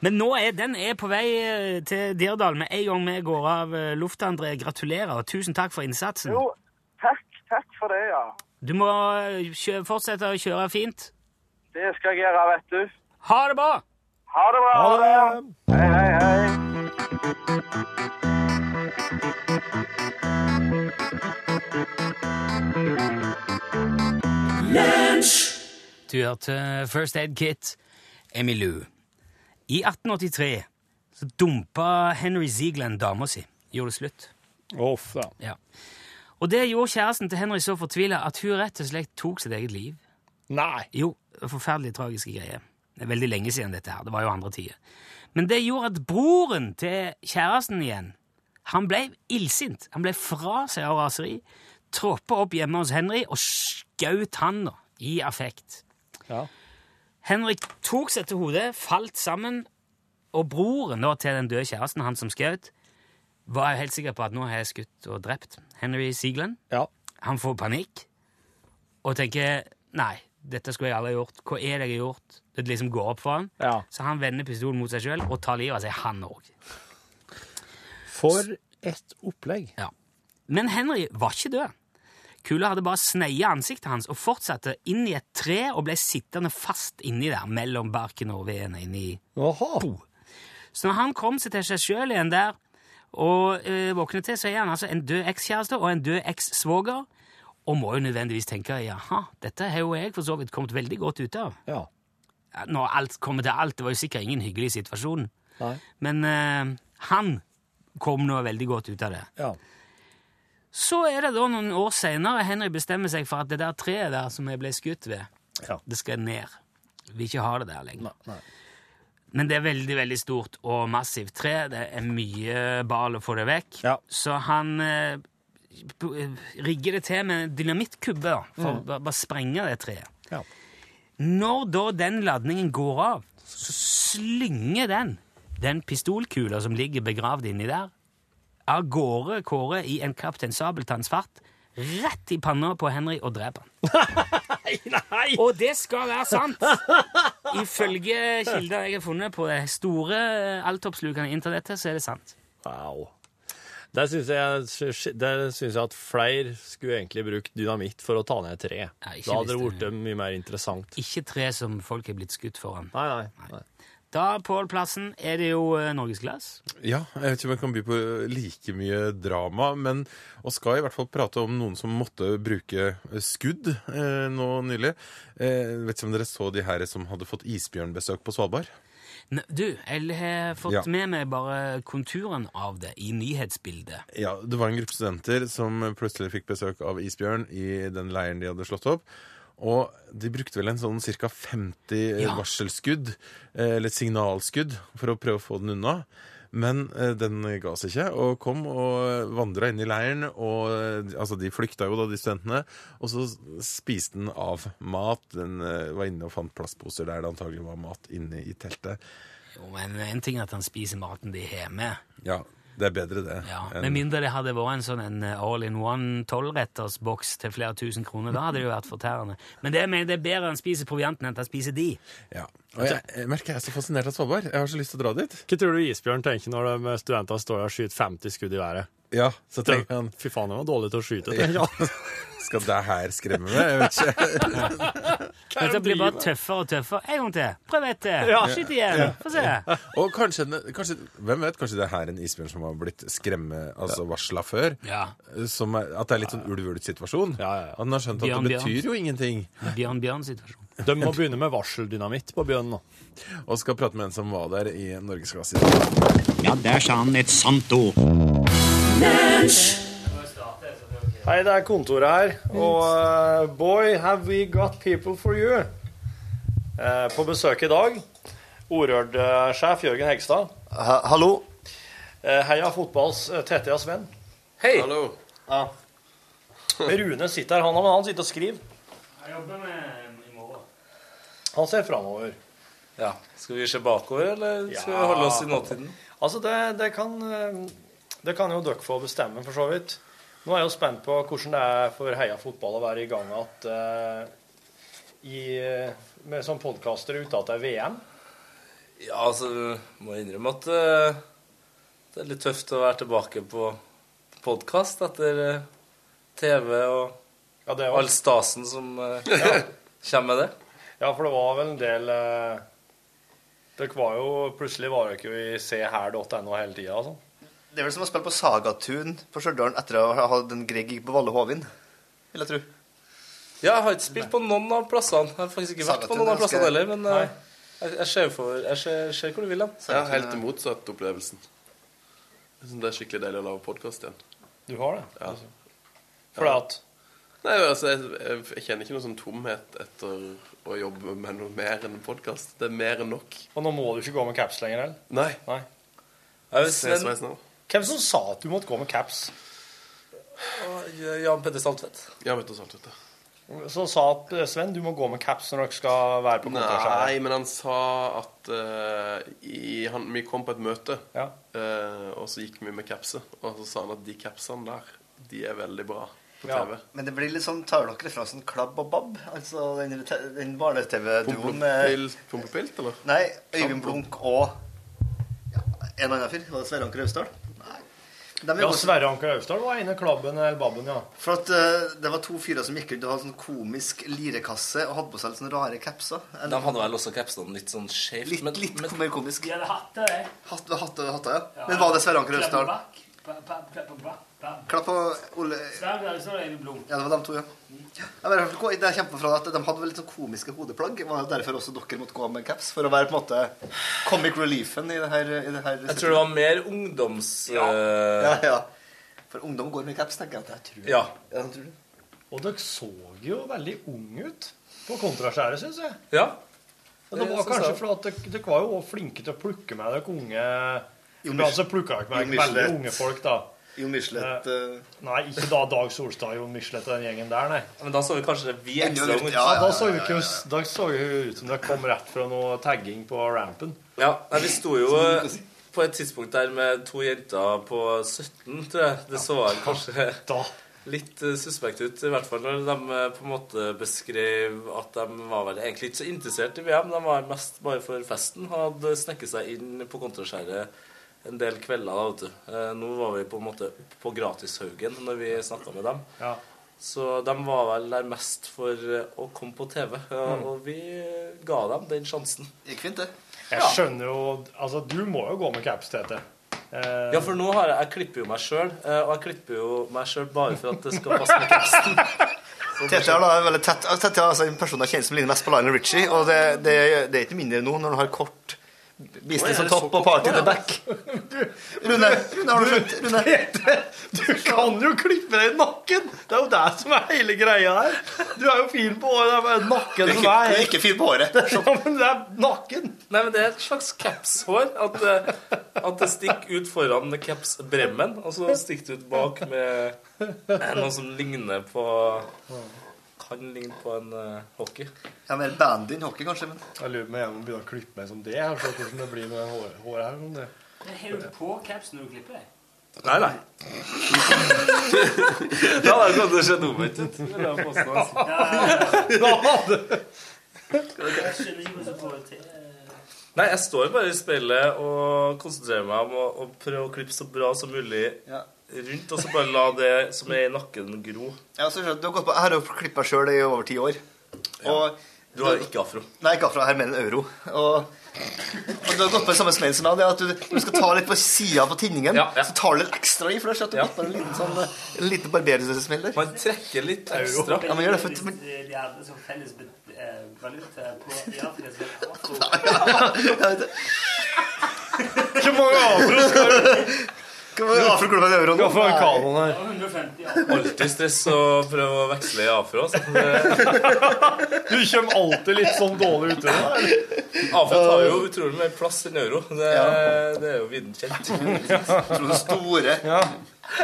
Men nå er den er på vei eh, til Dirdal med en gang vi går av eh, lufta, André. Gratulerer, og tusen takk for innsatsen.
Jo, takk, takk for det, ja.
Du må eh, kjø fortsette å kjøre fint.
Det skal jeg gjøre, vet du.
Ha det bra!
Ha det bra.
Ha det!
Hei, hei, hei.
Du hørte eh, First Aid Kit, Emilou. I 1883 så dumpa Henry Ziegland dama si. Gjorde det slutt.
Uff, ja.
Ja. Og det gjorde kjæresten til Henry så fortvila at hun rett og slett tok sitt eget liv.
Nei.
Jo, forferdelig tragiske greier. Det er veldig lenge siden dette her. Det var jo andre tider. Men det gjorde at broren til kjæresten igjen, han ble illsint. Han ble fra seg av raseri, troppa opp hjemme hos Henry og skjøt han da, i affekt.
Ja.
Henrik tok seg til hodet, falt sammen, og broren da til den døde kjæresten, han som skjøt, var helt sikker på at nå har jeg skutt og drept Henry Siegland.
ja.
Han får panikk og tenker Nei, dette skulle jeg aldri ha gjort. Hva er det jeg har gjort? Det liksom går opp for han.
Ja.
Så han vender pistolen mot seg sjøl og tar livet av seg, han òg.
For et opplegg.
Ja. Men Henry var ikke død. Kula hadde bare sneia ansiktet hans og fortsatte inn i et tre og ble sittende fast inni der mellom barken og veden inni
Jaha.
Så når han kom seg til seg sjøl igjen der og eh, våkner til, så er han altså en død ekskjæreste og en død ekssvoger, og må jo nødvendigvis tenke jaha, dette har jo jeg for så vidt kommet veldig godt ut av.
Ja.
Ja, Når alt kommer til alt, det var jo sikkert ingen hyggelig situasjon,
Nei.
men eh, han kom nå veldig godt ut av det.
Ja.
Så er det da noen år seinere Henry bestemmer seg for at det der treet der som jeg ble skutt ved,
Ja.
det skal ned. Vil ikke ha det der lenger.
Nei. Nei.
Men det er veldig veldig stort og massivt tre. Det er mye bal å få det vekk.
Ja.
Så han eh, b- eh, rigger det til med en dynamittkubbe da, for å ba- bare sprenge det treet.
Mm. Ja.
Når da den ladningen går av, så slynger den den pistolkula som ligger begravd inni der, av gårde Kåre i en Kaptein Sabeltanns fart rett i panna på Henry og dreper han.
Nei!
Og det skal være sant! Ifølge kilder jeg har funnet på det store eh, altoppslukende internettet, så er det sant.
Wow. Der syns jeg, der synes jeg at flere skulle egentlig brukt dynamitt for å ta ned tre.
Nei,
Da
ikke
hadde det
hvis
blitt
det-
mye mer interessant.
Ikke tre som folk er blitt skutt foran.
Nei, nei. nei.
Da, Pål Plassen, er det jo eh, norgesglass.
Ja, jeg vet ikke om jeg kan by på like mye drama, men og skal i hvert fall prate om noen som måtte bruke skudd eh, nå nylig. Eh, vet ikke om dere så de her som hadde fått isbjørnbesøk på Svalbard?
N- Du, jeg har fått
Ja.
med meg bare konturen av det i nyhetsbildet.
Ja, det var en gruppe studenter som plutselig fikk besøk av isbjørn i den leiren de hadde slått opp. Og de brukte vel en sånn ca. 50
Ja.
varselskudd, eh, eller signalskudd, for å prøve å få den unna. Men eh, den ga seg ikke, og kom og vandra inn i leiren. Og eh, altså, de flykta jo, da, de studentene. Og så spiste den av mat. Den eh, var inne og fant plastposer der det antagelig var mat inne i teltet.
Jo, men En ting er at han spiser maten de har med.
Ja, det er bedre, det.
Ja,
enn-
Med mindre det hadde vært en sånn en eh, all-in-one tolvrettersboks til flere tusen kroner. Da hadde det jo vært fortærende. Men det, men det er bedre han spiser provianten enn at han spiser de.
Ja. Og
Altså-
jeg, jeg merker jeg er så fascinert av Svalbard. Jeg har så lyst til å dra dit.
Hva tror du isbjørn tenker når de studentene står der og skyter 50 skudd i været?
Ja, så tenker han
Fy faen, de var dårlige til å skyte. tenker han.
Skal det her skremme meg? Jeg vet ikke.
er det
Dette blir bare
du driver med?
tøffere og tøffere. En gang til. Prøv et til.
Ja.
Skyt igjen. Få se.
Og kanskje, den- kanskje, hvem vet, kanskje det er her en isbjørn som har blitt skremme, altså varsla før.
Ja.
Som er, at det er litt sånn ulv-ulv-situasjon.
Ja, ja, ja.
Han har skjønt at
Bjørn,
det
bjørn.
betyr jo ingenting.
Bjørn Bjørn-situasjon.
De må begynne med varseldynamitt på bjørnen nå.
Og skal prate med en som var der i norgesklasse i dag.
Ja, der sa han et sant ord.
Hei, det er kontoret her. Og eh, boy, have we got people for you. Eh, på besøk i dag, Orørd-sjef Jørgen Hegstad.
hallo.
Eh, heia fotballs uh, Tetjas venn.
Hei.
Ja. Rune sitter her, han, men han sitter og skriver.
Jeg jobber med i morgen.
Han ser framover.
Ja. Skal vi se bakover, eller skal vi holde oss i nåtiden?
Altså, det, det, kan, eh, det kan jo dere få bestemme, for så vidt. Nå er jeg jo spent på hvordan det er for Heia fotball å være i gang at, eh, i, eh, med sånn podkaster ute at det er VM.
Ja, altså, må jeg innrømme at eh, det er litt tøft å være tilbake på podkast etter eh, TV og
Ja, det
all
var,
stasen som eh, kommer med det.
ja for det var vel en del eh, Dere var jo plutselig var dere jo i seher.no hele tida, altså.
Det er vel som å spille på Sagatun på Stjørdal etter å ha hatt en Grieg på Valle Hovin, vil jeg tro.
Ja, jeg har ikke spilt på noen av plassene. Jeg har faktisk ikke vært på noen av plassene heller, men eh, jeg, jeg ser for, jeg ser, ser hvor du vil hen.
Ja, helt motsatt opplevelsen. Jeg synes det er skikkelig deilig å lage podkast igjen.
Du har det?
Ja.
For det at
Nei, altså, jeg, jeg, jeg kjenner ikke noe sånn tomhet etter å jobbe med noe mer enn podkast. Det er mer enn nok.
Og nå må du ikke gå med caps lenger heller.
Nei.
Nei.
Jeg vil
Ses
se
veis nå.
Hvem som sa at du måtte gå med caps?
eh, Jan Petter Saltvedt.
Ja, vet du sant, vet du.
Som sa at eh, Sven, du må gå med caps når dere skal være på kontorskjermen.
Nei, men han sa at eh, i, han, Vi kom på et møte,
Ja.
eh, og så gikk vi med capser. Og så sa han at de capsene der, de er veldig bra på
Ja.
TV.
Men det blir litt sånn, tar dere referansen Klabb og Babb? Altså den, rete- den barne-TV-duoen med
Pumpepilt, pumpepilt, eller?
Nei, Øyvind Blunk og ja, en annen fyr. Var det Sverre Anker Austdal? Nei. De er
Ja,
jo også-
Sverre Anker Austdal var inne i klabben eller babben, ja.
For at eh, det var to fyrer som gikk rundt og hadde sånn komisk lirekasse og hadde på seg litt sånne rare capser.
De hadde vel også capsene litt sånn skjevt.
Litt,
men-
litt
men-
mer komisk.
hadde hatt det, jeg.
Hatt ved hatt over hatta, ja. Men var det Sverre Anker Austdal? Klapp og Ole Ja, det var de to, ja. Jeg bare, hørte gå- det jeg kjemper fra at De hadde vel litt sånn komiske hodeplagg. Det Var jo derfor også dere måtte gå med caps? For å være på en måte comic reliefen i det her, i det her
Jeg tror det var mer ungdoms... Ja.
ja, ja. For ungdom går med caps, tenker jeg. at jeg tror.
ja.
Ja, jeg tror det.
Og dere så jo veldig unge ut på kontraskjæret, syns jeg.
ja.
Og det
Det
var
synes
kanskje
jeg.
fordi at dere, dere var jo også flinke til å plukke med dere unge
Jo,
Men altså plukka dere med
Jo Michelet.
veldig unge folk, da.
Jon Michelet eh,
Nei, ikke da Dag Solstad, Jon Michelet og den gjengen der, nei.
Men da så vi kanskje det vi ekstra
Enda
unge.
litt,
Ja.
ja.
Da så jo ikke Da så jo ut som dere kom rett fra noe tagging på rampen.
Nei, vi sto jo eh, på et tidspunkt der med to jenter på 17, tror jeg. Det så vel kanskje
Da
litt eh, suspekt ut, i hvert fall når de eh, på en måte beskrev at de var vel egentlig ikke så interessert i VM. De var mest bare for festen. Hadde snekket seg inn på kontorskjæret en del kvelder. da, vet du. Eh, Nå var vi på en måte på Gratishaugen når vi snakka med dem.
Ja.
Så de var vel der mest for eh, å komme på TV, ja,
Mm.
og vi ga dem den sjansen.
gikk fint, det.
Jeg skjønner jo Altså, du må jo gå med caps, Tete. Eh,
Ja, for nå har jeg, jeg klipper jo meg sjøl, og jeg klipper jo meg sjøl bare for at det skal passe med teksten.
Tete er da veldig tett altså, Tete er altså en person jeg kjenner som ligner mest på Lionel Richie. Og det, det, det er ikke mindre nå når han har kort business on top og party in the back. Rune, Rune, har du skjønt? Rune.
du kan jo klippe deg i nakken! Det er jo det som er hele greia her. Du er jo fin på håret. Det er bare nakken
Du
som
er
er
ikke fin på håret.
Ja, men det er nakken.
Nei, men det er et slags capshår. At, eh, at det stikker ut foran capsbremmen, og så stikker det ut bak med eh, noe som ligner på Kan ligne på en eh, hockey.
Ja, mer bandy enn hockey, kanskje. Men
Jeg lurer på om jeg må begynne å klippe meg som det. Jeg ser hvordan det blir med det håret, håret her. men det-
Har du på caps når du klipper deg?
Nei, nei. Da hadde det kommet til å se omvendt ut. vil jeg påstå, altså.
Jeg skjønner ikke hvordan du får det til.
Nei, jeg står bare i speilet og konsentrerer meg om å, å prøve å klippe så bra som mulig
Ja.
rundt, og så bare la det som er i nakken, gro.
Ja, så skjønner du, du har gått på, jeg har jo klippet selv i over ti år. Og
Du har ikke afro.
Nei, ikke afro. Her mener jeg euro. Og, og du har gått på den samme smellen som meg. Det er at du, du skal ta litt på sida på tinningen. Så tar du litt ekstra i først. At du går på en liten, sånn, en liten barberersmell der.
Man trekker litt
ekstra. Ja, man gjør det. For, men,
eh, De hadde som felles bet- eh, valuta på i Afrika. så er det afro.
Hvor mange afro skal du Hvor mange afro klubber er det euroen?
Gå for en kanon
her.
150
Alltid stress å prøve å veksle i afro. Så det,
Du kommer alltid litt sånn dårlig ut.
afro tar jo utrolig mer plass enn euro. Det, det er jo viden kjent.
Tror du store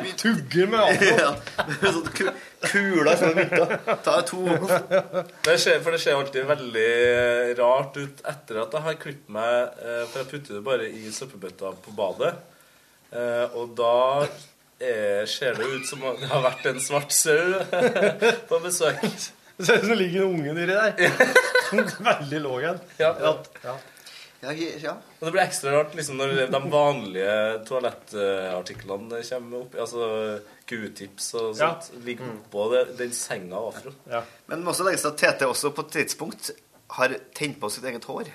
Vi tugger med afro.
Sånn ku- Kula som er mynta. Ta to.
Det ser, for det ser alltid veldig eh, rart ut etter at jeg har klippet meg. eh, For jeg putter det bare i søppelbøtta på badet. Eh, Og da er, ser det ut som om det har vært en svart sau på besøk.
Det ser ut som det ligger en unge nedi der. Veldig låg en. Ja.
Og det blir ekstra rart liksom, når de vanlige toalettartiklene kommer opp. Altså Q-tips og sånt. Ligger oppå det- den senga av afro.
Men det må også legges til at TT også på et tidspunkt har tent på sitt eget hår.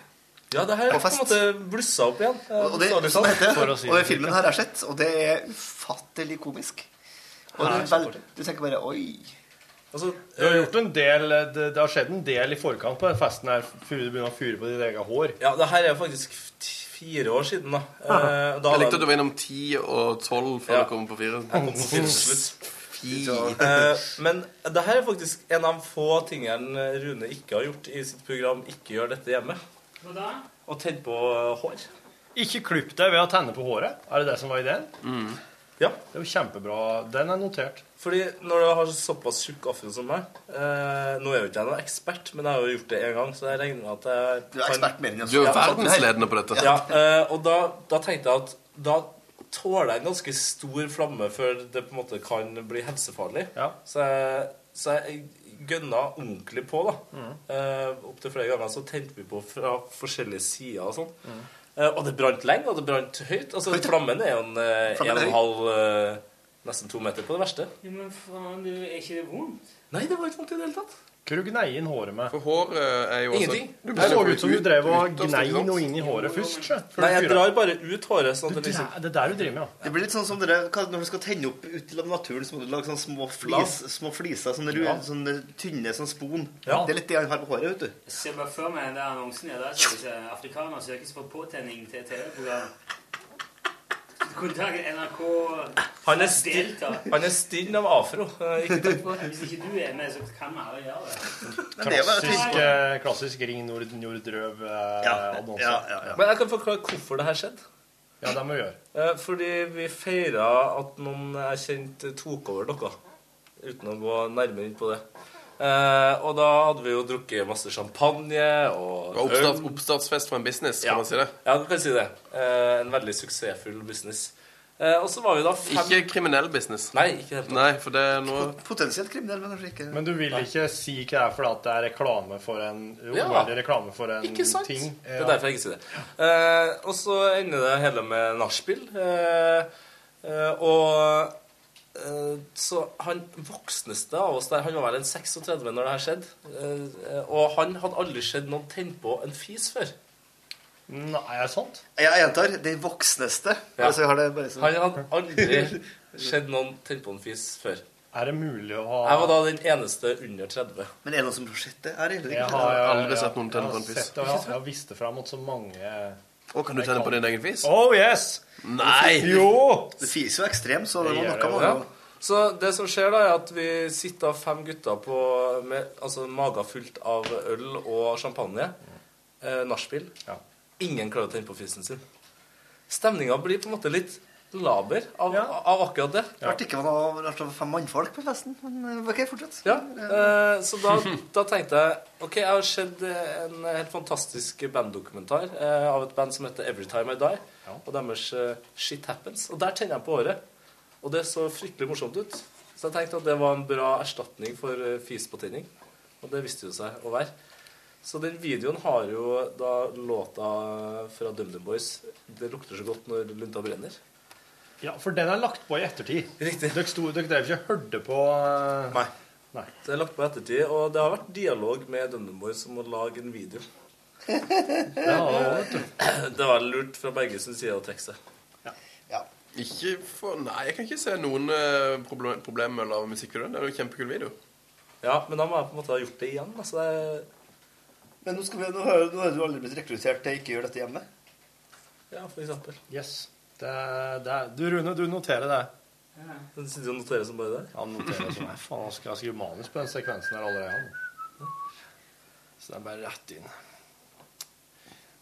Ja, det her er
På
på en
fest.
måte blussa opp igjen. Eh,
Og det,
blussa opp
som det
igjen.
heter,
For å si
og den
det.
filmen her har jeg sett, og det er ufattelig komisk. Og det
Ja,
er vel, du tenker bare Oi.
Altså,
Du har gjort en del, eh, det, det har skjedd en del i forkant på den festen her før du begynner å fyre på ditt eget hår.
Ja, det her er faktisk f- fire år siden, da. Eh, da
Jeg likte at du var innom 10 og 12 før du kom på 4.
Jeg kom på fire til slutt.
Fy.
Eh, Men det her er faktisk en av få tingene Rune ikke har gjort i sitt program 'Ikke gjør dette hjemme'.
Hva da?
Og tenn på eh, hår.
Ikke klipp deg ved å tenne på håret. Er det det som var ideen?
Ja.
Det er jo kjempebra. Den er notert.
Fordi når du har såpass tjukk afro som meg eh, Nå er jo ikke jeg noen ekspert, men jeg har jo gjort det en gang, så jeg regner med at jeg
Du er ekspert, mener jeg.
Du er
Ja.
verdensledende på dette.
Ja, eh, og da, da tenkte jeg at da tåler jeg en ganske stor flamme før det på en måte kan bli helsefarlig. Så jeg, så jeg gønna ordentlig på, da. Eh, Opptil flere ganger så tente vi på fra forskjellige sider og sånn. Eh, og det brant lenge, og det brant høyt. Altså, flammen er jo en, eh,
Flammen er høy.
en og en halv eh, Nesten to meter på det verste.
Ja, men faen, du, er ikke det vondt?
Nei, det var ikke vondt i det hele tatt.
Hva du gnei inn håret med?
For håret er jo også
Ingenting.
Du
Det
blir
så
jo
ut som du
ut-
drev
ut
og
av altså.
gnei
stykket,
noe
sant?
inn i håret først. sjø, før
Nei,
du
jeg
fyrer.
drar bare ut håret. sånn at det liksom...
Det er der du driver med, ja.
Det blir litt sånn som dere, hva- Når du skal tenne opp ut av naturen, så må du lage sånne små, flis, små fliser. Sånne, ru-
Ja.
sånne tynne sånn spon.
Ja.
Det er litt det han har på håret. vet du
Jeg ser bare før meg den der annonsen er der, så hvis eh, afrikaner søkes for påtenning til TV-program. Kontakt NRK
Han er stinn,
Delta.
han er stinn av afro. Eh, Ikke tenk på det.
Hvis ikke du er med, så kan vi alle gjøre det.
Klassisk, eh, klassisk Ring Nord eh, Nordrøv-annonse.
Men jeg kan forklare hvorfor det her skjedde.
Ja, det må vi gjøre.
Eh, Fordi vi feira at noen jeg kjente, tok over noe. Uten å gå nærmere inn på det. Eh, og da hadde vi jo drukket masse champagne
Det
og
var oppstart-
øl.
oppstartsfest for en business, kan
Ja.
man si det.
Ja, du kan si det. Eh, en veldig suksessfull business. Eh, og så var vi da fem
Ikke kriminell business.
Nei, ikke helt
Nei, for det er nå
Potensielt kriminell, men kanskje ikke.
Men du vil ikke si hva det er fordi at det er reklame for en
Ja.
uærlig reklame for en
Ikke sant?
ting?
Det er derfor jeg ikke sier det. Eh, og så ender det hele med nachspiel. Eh, eh, og eh, så han voksneste av oss der, han var vel en 36 når det her skjedde. Eh, eh, og han hadde aldri sett noen tenne på en fis før.
Nei, er det sant?
Jeg gjentar. Den voksneste.
Ja.
Altså, jeg har det bare sånn.
Han hadde aldri sett noen tenne på en fis før.
Er det mulig å ha
Jeg var da den eneste under 30.
Men er det noen som har sett det? Er det heller ikke?
Jeg har jeg-
aldri sett noen
jeg
tenne på
har
en fis.
sett det, og Jeg har- jeg har vist det fram mot så mange
Å, kan du tenne på din egen fis?
Oh yes!
Nei!
Jo!
Det fiser jo ekstremt, så
Det
det var
gjør det
noe
jo.
man
Ja. Så det som skjer da, er at vi sitter av fem gutter på, med altså, mager fullt av øl og champagne. Eh, nachspiel. Ingen klarer å tenne på fisen sin. Stemninga blir på en måte litt laber av, av akkurat det.
Det ble ikke noe det ble sånn fem mannfolk på festen, men eh, OK, fortsett.
Ja, eh, så da, da tenkte jeg Ok, jeg har sett eh, en helt fantastisk banddokumentar eh, av et band som heter Every Time I Die, og deres eh, Shit Happens. Og der tenner jeg på håret. Og det så fryktelig morsomt ut. Så jeg tenkte at det var en bra erstatning for eh, fis på tenning. Og det viste jo seg å være. Så den videoen har jo da låta fra DumDum Boys 'Det lukter så godt når lunta brenner'.
Ja, for den er lagt på i ettertid.
Riktig.
Dere, sto, dere drev ikke og hørte på eh,
Det er lagt på ettertid, og det har vært dialog med Dundermoy som må lage en video. det var lurt fra begge sin side å trekke seg.
Ikke for, nei, jeg kan ikke se noen eh, problem, problemer av musikkvideoen. Det er jo en kjempekul video.
Ja, men da må jeg på en måte ha gjort det igjen. Altså, det
Men nå, skal vi, nå, har, nå er du aldri blitt rekruttert til ikke å gjøre dette hjemme.
ja, for eksempel.
Yes. Det, det, du, Rune, du noterer det.
Den sitter og noterer som bare det.
Han noterer som Nei, faen, han skal skrive manus på den sekvensen her allerede. han. Så det er bare rett inn.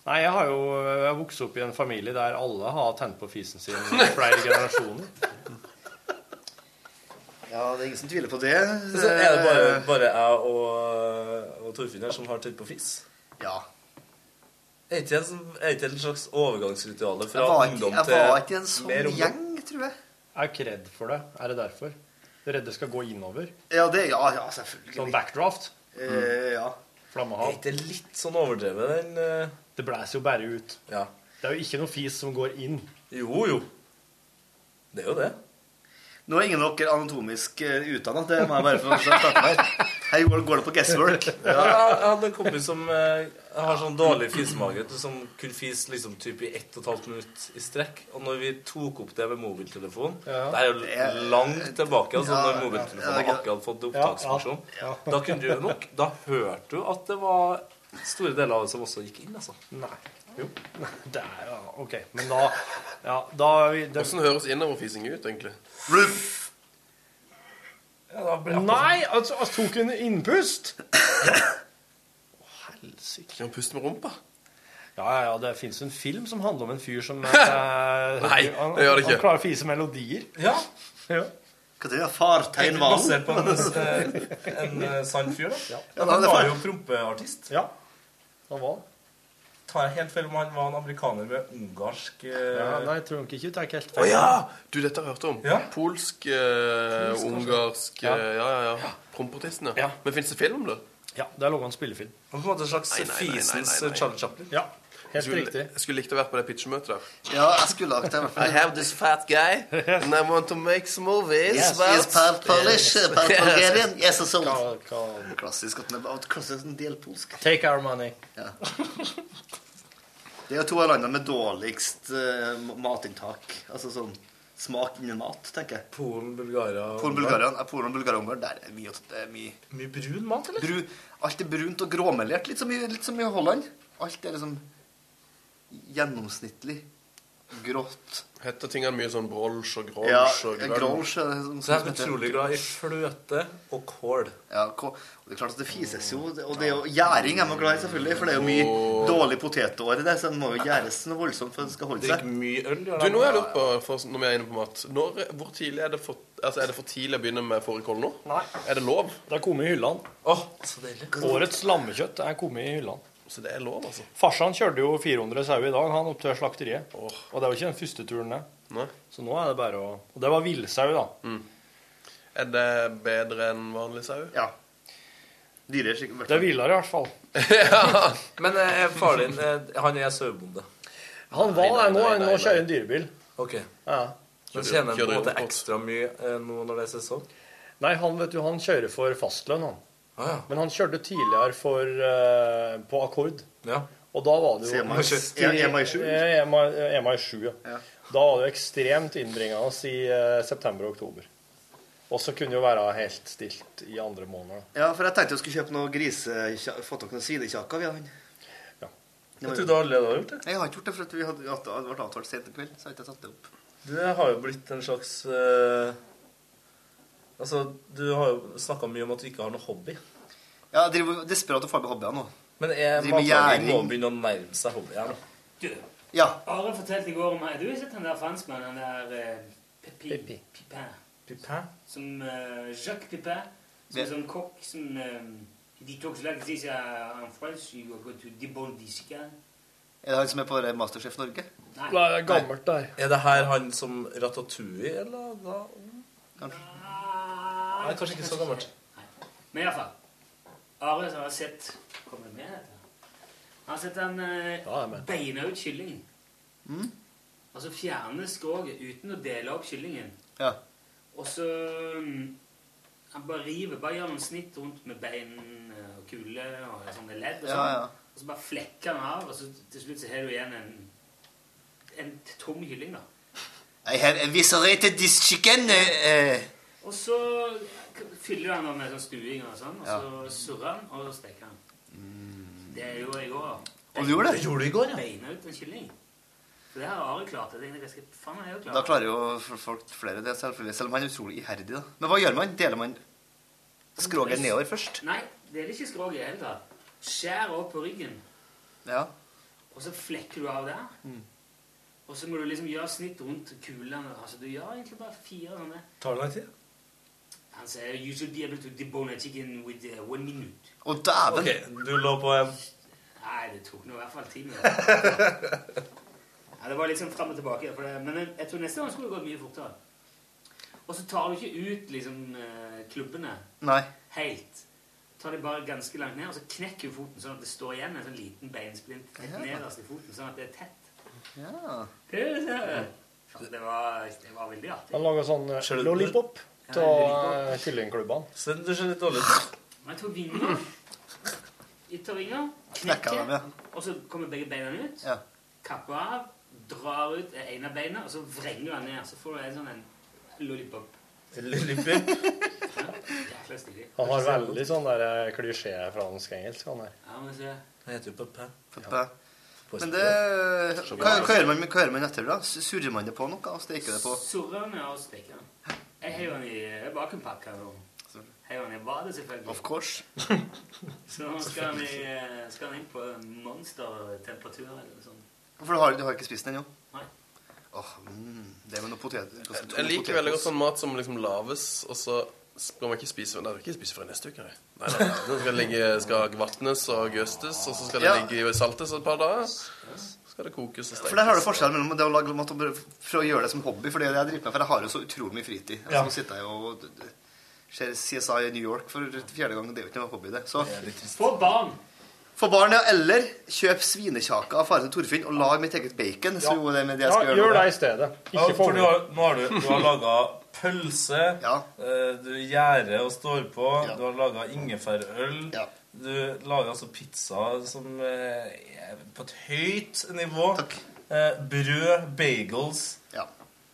Nei, jeg har jo jeg har vokst opp i en familie der alle har tent på fisen sin i flere generasjoner.
Ja, det er ingen som tviler på det. Eh,
Så er det bare, bare jeg og, og Torfinn her som har tøyd på fis?
Ja.
Er ikke det en sånn- er ikke det en slags overgangsrituale fra
Jeg var ikke-
ungdom
jeg
til
var ikke i en sånn
mer ungdom?
gjeng. tror jeg.
Jeg er ikke redd for det. Er det derfor? Du er redd det skal gå innover?
Ja, det, ja, ja selvfølgelig.
Sånn backdraft?
Eh, ja.
Flammehav?
Er ikke det litt sånn overdrevet, den eh.
Det blæser jo bare ut.
Ja.
Det er jo ikke noe fis som går inn.
Jo, jo. Det er jo det.
Nå er ingen av dere anatomisk uh, utdanna. Det må jeg bare få starte med. Her går, går det på guesswork.
Ja. Jeg jeg hadde en kompis som eh, har sånn dårlig fisemage vet du, som kunne fise liksom typ i ett og et halvt minutt i strekk. Og når vi tok opp det med mobiltelefon
Ja.
Det er jo langt tilbake, altså,
Ja,
når
ja,
mobiltelefonen
ja, ja.
akkurat hadde fått
Ja,
opptaksfunksjon.
ja, ja.
Da kunne du nok Da hørte du at det var store deler av det som også gikk inn, altså.
Nei. Jo. Det er jo OK. Men da ja, da det,
Hvordan høres innoverfising ut, egentlig?
Nei, altså, altså tok hun innpust? Helsike.
Kan puste med rumpa?
Ja, ja, ja, det fins en film som handler om en fyr som eh,
Nei, det
han,
gjør det ikke.
Han klarer å fise melodier.
Ja.
ja.
Hva det er fartegn
Basert på en, en, eh, sann fyr, da.
Ja,
han
det er
var
fair.
jo prompeartist.
Ja. Han var
Tar jeg helt feil om han var en amerikaner med ungarsk eh,
ja, Nei, jeg tror nok ikke det er helt
Å ja! Du, dette har jeg hørt om.
Ja.
Polsk, eh,
Polsk, kanskje?
ungarsk
Ja.
eh, Ja, ja, ja. Prompartisten, ja. Men fins det film om det?
Ja, det er laga en spillefilm.
På en måte en slags
fisens
Charlie
Chaplin.
Ja, helt
skulle,
riktig.
Jeg skulle likt å vært på det pitchmøtet der.
Ja, jeg skulle lagt det. i hvert fall.
I have this fat guy, and I want to make some movies.
Yes,
about-
yes, part Polish, part
Yes.
Bulgarian, yes, and so on. Klassisk at den er at klassisk en del polsk.
Take our money.
Ja. Det er jo to av landene med dårligst eh, ma- matinntak. Altså sånn smak innen mat, tenker jeg.
Polen, Bulgaria og
Polen,
Ungarn.
Bulgaria, ja, Polen, Bulgaria og Ungarn. Der er mye, det er mye
Mye brun mat, eller?
Bru, alt er brunt og gråmelert, litt som, i, litt som i Holland. Alt er liksom gjennomsnittlig grått.
Heter tingene mye sånn brolsj og grolsj
Ja,
og grønn?
grolsj er det som-
Så jeg er liksom utrolig glad i fløte og kål.
Ja, kå- og det er klart at det fises jo, og det er jo gjæring er man glad i, selvfølgelig, for det er jo mye dårlig potetår i det, så den må jo gjæres noe voldsomt for at det skal holde seg.
Drikk mye Du, nå har jeg lurt på, for, når vi er inne på mat når, Hvor tidlig er det for, altså, er det for tidlig å begynne med fårikål nå?
Nei.
Er det lov?
Det er kommet i hyllene.
så deilig.
Årets lammekjøtt er kommet i hyllene.
Så det er lov, altså?
Farsan kjørte jo 400 sauer i dag, han opp til slakteriet. Og det var ikke den første turen, det.
Nei.
Så nå er det bare å Og det var villsau, da.
Er det bedre enn Mm. vanlig sau?
Ja. Dyrere, sikkert.
Det er hvilere, i hvert fall.
Men eh, faren din, eh, han er sauebonde.
Han var
Nei,
det
nei,
nå.
nei,
Nå
nei,
kjører han dyrebil.
Ok.
Ja.
Men tjener han på en måte ekstra mye eh, nå når det er sesong?
Nei, han vet du, han kjører for fastlønn, han.
ja.
Men han kjørte tidligere for, eh, på akkord.
Ja.
Og da var det jo
Så EMI
ekstremt-
EMI sju?
Eh, EMI eh, EMI sju, ja. Da var det jo ekstremt innbringende i eh, september og oktober. Og så kunne det jo være helt stilt i andre måneder. da.
Ja, for jeg tenkte jeg skulle kjøpe noe grise... Få tak i noen sidekjaker, vi har han.
Jeg trodde allerede du hadde gjort det.
Jeg har ikke gjort det, for at vi hadde, at det ble avtalt sent i kveld, så har jeg ikke tatt det opp.
Du har jo blitt en slags eh, Altså, du har jo snakka mye om at du ikke har noe hobby.
Ja, jeg driver desperat og får med hobbyer nå.
Men er
Driver med
matlaging må
gjæring.
begynne å nærme seg hobby her nå.
Ja.
Are fortalte i går om Du har sett han der franskmannen, han der eh, Pepi- Pipin.
Pipin?
Som eh, Jacques Pipin. Som
Hvem?
er sånn kokk som eh, De coqs-là qui disent en France, you go to the bon disca.
Er det han som er på det Masterchef Norge?
Nei.
der.
Er det her han som Ratatouille, eller? Da? Nei, kanskje ikke så gammelt.
Ah, Men iallfall. Are som har sett Kommer det med dette? Han har sett en
Ja, jeg er
eh,
med.
beina ut kylling.
Mm.
Altså fjerne skroget uten å dele opp kyllingen.
Ja.
Og så mm, Han bare river, bare gjør noen snitt rundt med bein og kule og sånne ledd. Og,
Ja,
sånn.
ja.
og så bare flekker han av, og så til slutt så har du igjen en, en tom kylling, da.
I have eviscerated this chicken. eh, eh.
Og så fyller du han da med sånn stuing og sånn, og
Ja.
så surrer han, og så steker han. Mm, Det gjorde jeg i går. da.
Og du gjorde
Beina-
det? Det gjorde du i går, ja.
Beina ut en kylling. For det har Are klart. Jeg tenkte, jeg skal, faen, jeg har jo klart
Da klarer jo folk flere det, selvfølgelig. Selv om han er utrolig iherdig, da. Men hva gjør man? Deler man skroget nedover først?
Nei, det er ikke skrog i det hele tatt. Skjær opp på ryggen,
Ja.
og så flekker du av der.
Mm.
Og så må du liksom gjøre snitt rundt kulene. Altså, du gjør egentlig bare fire sånne.
Tar det lang tid?
Han sier you should be able to debone a chicken with uh, one minute.
Å, dæven!
Ok, du lå på en
Nei, det tok nå i hvert fall ti minutter. ja, det var litt sånn fram og tilbake. For det, men jeg, jeg tror neste gang skulle det gått mye fortere. Og så tar du ikke ut liksom eh, klubbene
Nei.
helt. Tar de bare ganske langt ned, og så knekker du foten sånn at det står igjen en sånn liten beinsplint helt
Ja.
nederst i foten, sånn at det er tett.
Ja.
Faen, Det var, det var veldig artig.
Han lager sånn eh,
Skjønner du-
lollipop
Ja,
av
lollipop.
kyllingklubbene.
Send du skjønner litt dårlig
Men jeg tar vinger. Jeg tar vinger,
Knekker dem,
knekker,
ja.
og så kommer begge beina ut.
Ja.
Kapper av, drar ut det ene beinet, og så vrenger du den ned. Så får du en sånn en lollipop.
Lollipop?
Jækla stilig.
Han har veldig sånn der eh, klisjé fransk-engelsk, han der.
Ja, men se.
sånn- Han heter jo Peppa.
Peppa. Men det hva, hva gjør man, hva gjør man etter det? da? Surrer man det på noe og steker det på?
Surrer den ned og steker den. Jeg heier den i bakenpakka nå. Heier den i badet, selvfølgelig.
Of course.
Så nå skal den, i, eh, skal den inn på monstertemperatur eller sånn.
For du har, du har ikke spist den ennå?
Nei.
Åh, mm, det med noe potet
Jeg liker veldig godt sånn mat som liksom laves, og så skal man ikke spise Nei, du skal ikke spise før neste uke. Nei, nei, nei. Den skal, ligge, skal vatnes og gøstes, og så skal det
Ja.
ligge i saltes et par dager. Så skal det kokes og stekes.
For der har du forskjellen mellom det å lage mat og bare prøve å gjøre det som hobby. For det er det jeg driver med, for jeg har jo så utrolig mye fritid.
Ja.
Altså, nå sitter jeg jo og d- d- ser CSI i New York for fjerde gang, og det er jo ikke noe hobby, det. Så
Få barn!
Få barn, ja. Eller kjøp svinekjaker av faren til Torfinn og lag mitt eget bacon. Så jo, det er med det jeg skal
Ja,
gjøre.
gjør
nå.
det i stedet.
Ja, for du har, nå har du, du har laga pølse, eh, du gjærer og står på, du har laga ingefærøl Du lager altså pizza som eh, er på et høyt nivå. Eh, brød, bagels